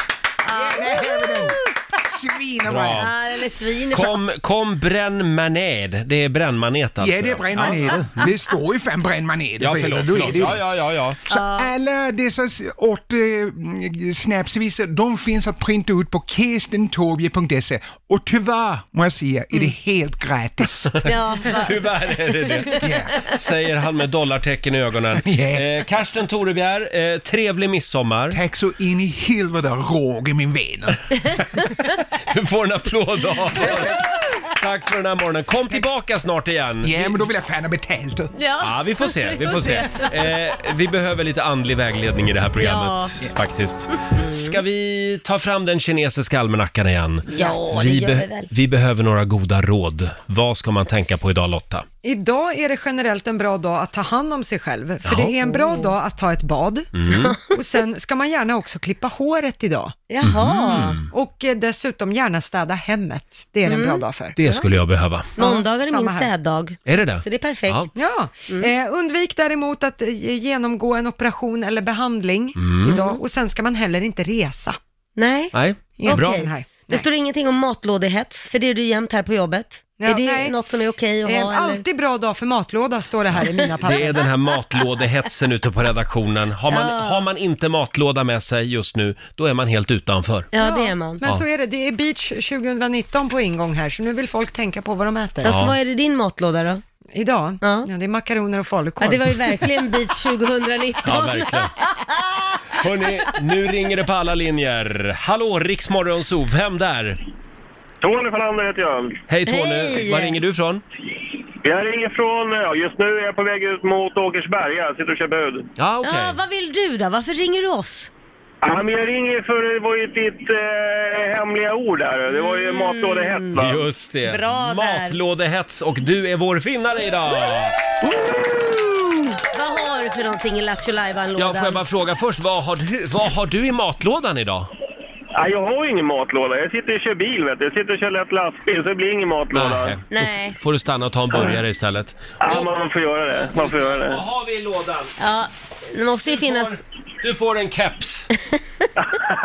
Svin och Bra. Ja, den är svin. Kom, kom bränn maned. Det är brännmanet alltså. Ja, det bränner man ner. Det står ju fan bränn man ner. Ja, för förlåt. helvete, då är förlåt. det ju Ja, det. ja, ja, ja. Så alla dessa s- åt eh, snapsvisor, de finns att printa ut på kirstentorbje.se E. och tyvärr, må jag säga, är det helt gratis. Ja, va- Tyvärr är det det. Säger han med dollartecken i ögonen. Eh, Karsten Torebjer, eh, trevlig midsommar. Tack så in i helvete, Roger min vän. Du får en applåd av oss. Tack för den här morgonen. Kom tillbaka snart igen. Ja, men då vill jag fan ha betalt. Ja, vi får se. Vi får se. Eh, vi behöver lite andlig vägledning i det här programmet faktiskt. Ska vi ta fram den kinesiska almanackan igen? Ja, det vi, gör vi väl. vi behöver några goda råd. Vad ska man tänka på idag Lotta? Idag är det generellt en bra dag att ta hand om sig själv, för det är en bra dag att ta ett bad. Mm. Och sen ska man gärna också klippa håret idag. Jaha. Mm-hmm. Mm. Och eh, dessutom gärna städa hemmet. Det är det en bra dag för. Det skulle jag behöva. Måndagar är Samma min här. städdag. Är det det? Så det är perfekt. Ja. Ja, eh, undvik däremot att eh, genomgå en operation eller behandling Mm. idag och sen ska man heller inte resa. Nej. Nej, Enligt bra. den här. Det står ingenting om matlådehets, för det är du jämt här på jobbet. Ja, är det nej. något som är okej att Eh, ha? eller? alltid bra dag för matlåda står det här i mina papper. Det är den här matlådehetsen ute på redaktionen. Har man, Ja. har man inte matlåda med sig just nu, då är man helt utanför. Ja, det är man. Men Ja. så är det, det är beach 2019 på ingång här, så nu vill folk tänka på vad de äter. Alltså, Ja. vad är det i din matlåda då? Idag, Ja. ja. det är makaroner och falukorv. Ja, det var ju verkligen beach 2019. Ja, verkligen. Hörni, nu ringer det på alla linjer. Hallå, Riksmorgonzoo, vem där? Tony Falander heter jag. Hej Tony, Hej. var ringer du ifrån? Jag ringer från, ja, just nu är jag på väg ut mot Åkersberga, jag sitter och kör bud. Ja, okej. Ja, vad vill du då? Varför ringer du oss? Ja, men jag ringer för det var ju ditt eh, hemliga ord där. Det var ju matlådehett va? Just det. Bra där. Matlådehets och du är vår vinnare idag! Vad har du för någonting i Lattjo Ja, får jag Lajban-lådan? bara fråga först, vad har du, vad har du i matlådan idag? Ja, jag har ju ingen matlåda. Jag sitter och kör bil vet du. Jag sitter och kör lätt lastbil så det blir ingen matlåda. Nej. Nej. Får du stanna och ta en burgare istället? Ja, man får göra det. Man får göra Vad det. har vi i lådan? Ja, det måste ju finnas... Du får en keps.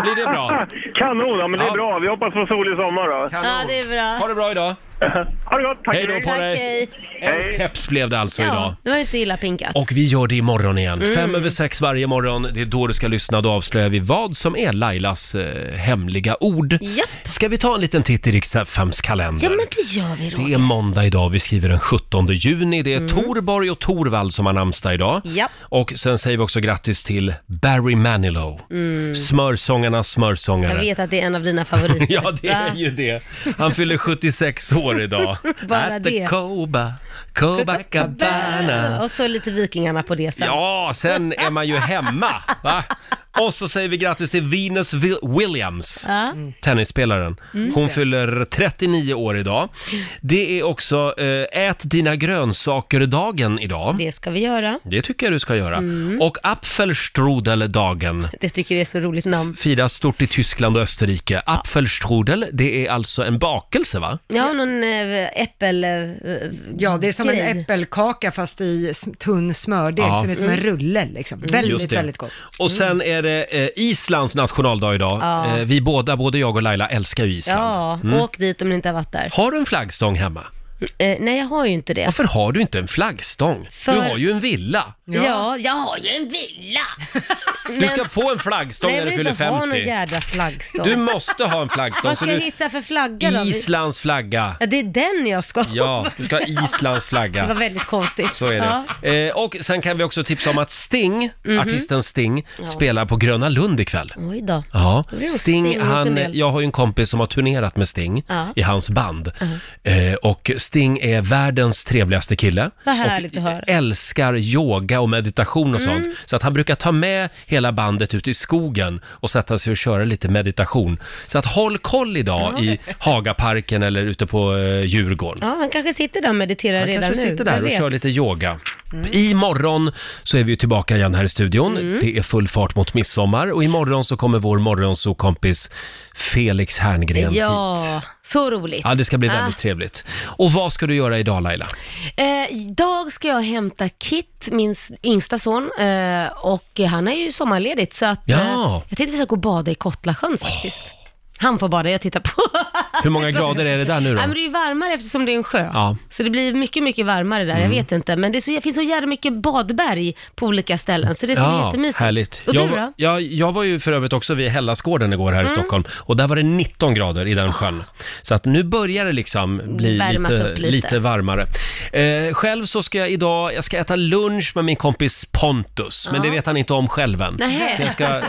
Blir det bra? Kanon, ja, men det är Ja. bra. Vi hoppas på solig sommar då. Ja, det är bra. Ha det bra idag. ha det gott, tack. Hej då på Tack, dig. hej. En keps blev det alltså idag. Ja, det var ju inte illa pinkat. Och vi gör det imorgon igen. Mm. Fem över sex varje morgon. Det är då du ska lyssna. Då avslöjar vi vad som är Lailas eh, hemliga ord. Ska vi ta en liten titt i Riks-FMs kalender? Ja, men det gör vi Roger. Det är måndag idag, vi skriver den 17 juni. Mm. Det är Torborg och Torvald som har namnsdag idag. Japp. Och sen säger vi också grattis till Barry Manilow. Mm. Smörsångarnas smörsångare. Jag vet att det är en av dina favoriter. Ja, det är Va? ju det. Han fyller 76 år idag. Bara At det. the Coba, Copacabana. Och så lite Vikingarna på det sen. Ja, sen är man ju hemma, va? Och så säger vi grattis till Venus Vil- Williams. Ja. Tennisspelaren. Mm. Just Hon det. fyller 39 år idag. Det är också eh, ät dina grönsaker-dagen idag. Det ska vi göra. Det tycker jag du ska göra. Mm. Och Apfelstrudel-dagen Det tycker jag är så roligt namn. firas stort i Tyskland och Österrike. Apfelstrudel, det är alltså en bakelse va? Ja, någon äh, äppel... eh, Ja, det är som grej. en äppelkaka fast i s- tunn smördeg, Ja. så det är som en Mm. rulle liksom. Just Väldigt, det. väldigt gott. Och sen är det eh, Islands nationaldag idag. Mm. Ja. Eh, vi båda, både jag och Laila, älskar ju Island. Ja, Mm. åk dit om ni inte har varit där. Har du en flaggstång hemma? Eh, nej, jag har ju inte det. Varför har du inte en flaggstång? För- Du har ju en villa. Ja. jag har ju en villa! Du ska få en flaggstång när du fyller Nej, jag vill inte ha någon 50. jädra flaggstång. Du måste ha en flaggstång. Vad så ska jag du... hissa för flagga då? Islands flagga. Ja, det är den jag ska ha. Ja, du ska ha Islands Det var flagga. väldigt konstigt. Så är Ja. det. Eh, och sen kan vi också tipsa om att Sting, Mhm. artisten Sting, Ja. spelar på Gröna Lund ikväll. Oj då. Ja, Det blir nog Sting Sting, hos en han, del. jag har ju en kompis som har turnerat med Sting Ja. i hans band. Eh, och Sting är världens trevligaste kille. Vad härligt och att höra. älskar yoga och meditation och Mm. sånt. Så att han brukar ta med hela bandet ut i skogen och sätta sig och köra lite meditation. Så att håll koll idag Ja. i Hagaparken eller ute på eh, Djurgården. Ja, han kanske sitter där och mediterar Han redan kanske nu. sitter där Vem och vet? kör lite yoga. Imorgon så är vi ju tillbaka igen här i studion. Mm. Det är full fart mot midsommar och imorgon så kommer vår morgonsokompis Felix Herngren hit. Ja, så roligt. Ja, det ska bli väldigt Ah. trevligt. Och vad ska du göra idag Laila? Eh, idag ska jag hämta Kit, min s- yngsta son, eh, och han är ju sommarledigt så att Ja. eh, jag tänkte vi ska gå och bada i Kottlasjön faktiskt. Han får bada, jag tittar på. Hur många grader är det där nu Nej, då? men det är ju varmare eftersom det är en sjö. Ja. Så det blir mycket, mycket varmare där. Mm. Jag vet inte. Men det, är så, det finns så jävla mycket badberg på olika ställen, så det ska bli Ja, jättemysigt. härligt. Och jag, du var- då? Jag, jag var ju för övrigt också vid Hellasgården igår här i Mm. Ah. Stockholm och där var det 19 grader i den sjön. Så att nu börjar det liksom bli Värmas lite, upp lite. lite. varmare. Eh, själv så ska jag idag, jag ska äta lunch med min kompis Pontus, men Ja. det vet han inte om själv än. Nähä. Så jag ska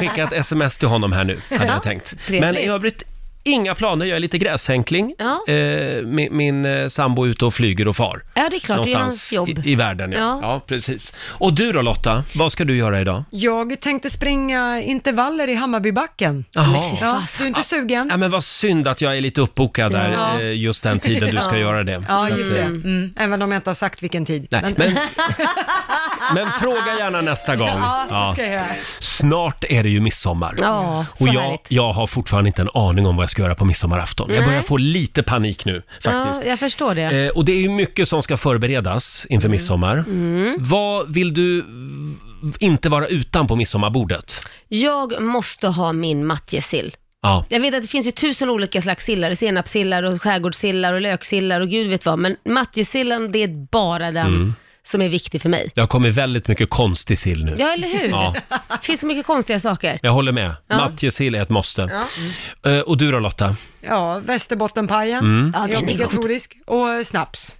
skicka ett sms till honom här nu, hade jag tänkt. trevligt. Men i övrigt, inga planer. Jag är lite gräshänkling. Ja. Eh, min, min eh, sambo är ute och flyger och far. Ja, det är klart. Det är Någonstans hans jobb. I, i världen, ja. ja. Ja. precis. Och du då Lotta, vad ska du göra idag? Jag tänkte springa intervaller i Hammarbybacken. Jaha. Men fy Ja, fasen. du är inte sugen? Ja, men vad synd att jag är lite uppbokad där Ja. eh, just den tiden du ska Ja. göra det. Ja, Så att, just det. eh, Mm. Även om jag inte har sagt vilken tid. Nej, men, men fråga gärna nästa gång. Ja, Ja. det ska jag göra. Snart är det ju midsommar. Ja, så Och jag, härligt. jag har fortfarande inte en aning om vad jag ska göra på midsommarafton. Jag Nej. börjar få lite panik nu faktiskt. Ja, jag förstår det. Eh, och det är ju mycket som ska förberedas inför midsommar. Mm. Vad vill du mm, inte vara utan på midsommarbordet? Jag måste ha min matjessill. Ja. Jag vet att det finns ju tusen olika slags sillar, senapssillar och skärgårdssillar och löksillar och gud vet vad, men matjessillen det är bara den Mm. som är viktig för mig. Det har kommit väldigt mycket konstig sill nu. Ja, eller hur? Ja. Det finns så mycket konstiga saker. Jag håller med. Ja. Matjessill är ett måste. Ja. Eh, Och du då Lotta? Ja, Västerbottenpajen Mm. ja, Ja, är den är obligatorisk. Och snaps.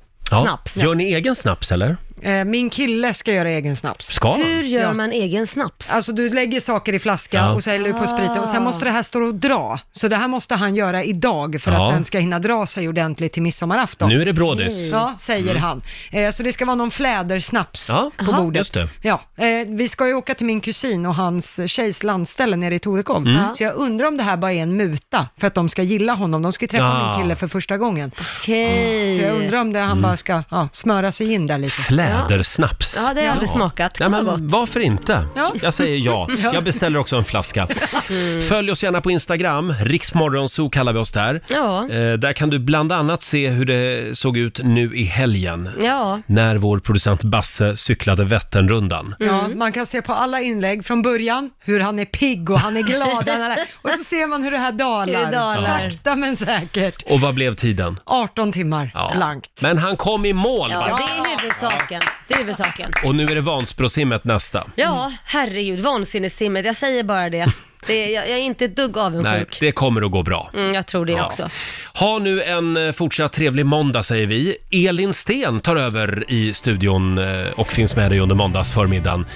Gör ni egen snaps eller? Eh, Min kille ska göra egen snaps. Ska han? Hur gör man egen snaps? Alltså du lägger saker i flaska Ja. och så häller du på spriten och sen måste det här stå och dra. Så det här måste han göra idag för Ja. att den ska hinna dra sig ordentligt till midsommarafton. Nu är det brådis. Okej. Ja, säger Mm. han. Eh, Så det ska vara någon flädersnaps Ja, på Aha. bordet. just det. Ja, eh, vi ska ju åka till min kusin och hans tjejs landställe nere i Torekov. Mm. Ja. Så jag undrar om det här bara är en muta för att de ska gilla honom. De ska ju träffa Ja. Mm. min kille för första gången. Okej. Så jag undrar om det han bara ska ja, smöra sig in där lite. Lädersnaps. Ja, det har jag aldrig smakat. Kan Nej, vara men varför inte? Ja. Jag säger ja. Ja. Mm. Jag beställer också en flaska. Följ oss gärna på Instagram, riksmorgonzoo kallar vi oss där. Ja. Eh, där kan du bland annat se hur det såg ut nu i helgen. Ja. När vår producent Basse cyklade Mm. Vätternrundan. Ja, man kan se på alla inlägg från början hur han är pigg och han är glad. Han är, och så ser man hur det här dalar. Hur det dalar. Sakta men säkert. Och vad blev tiden? 18 timmar blankt. Men han kom i mål Ja, Basse. det är huvudsaken. Det är huvudsaken. Och nu är det Vansbrosimmet nästa. Ja, herregud, vansinnessimmet. Jag säger bara det. det är, jag, jag är inte ett dugg Nej, avundsjuk. det kommer att gå bra. Mm, jag tror det Ja. också. Ha nu en eh, fortsatt trevlig måndag säger vi. Elin Sten tar över i studion eh, och finns med dig under måndagsförmiddagen.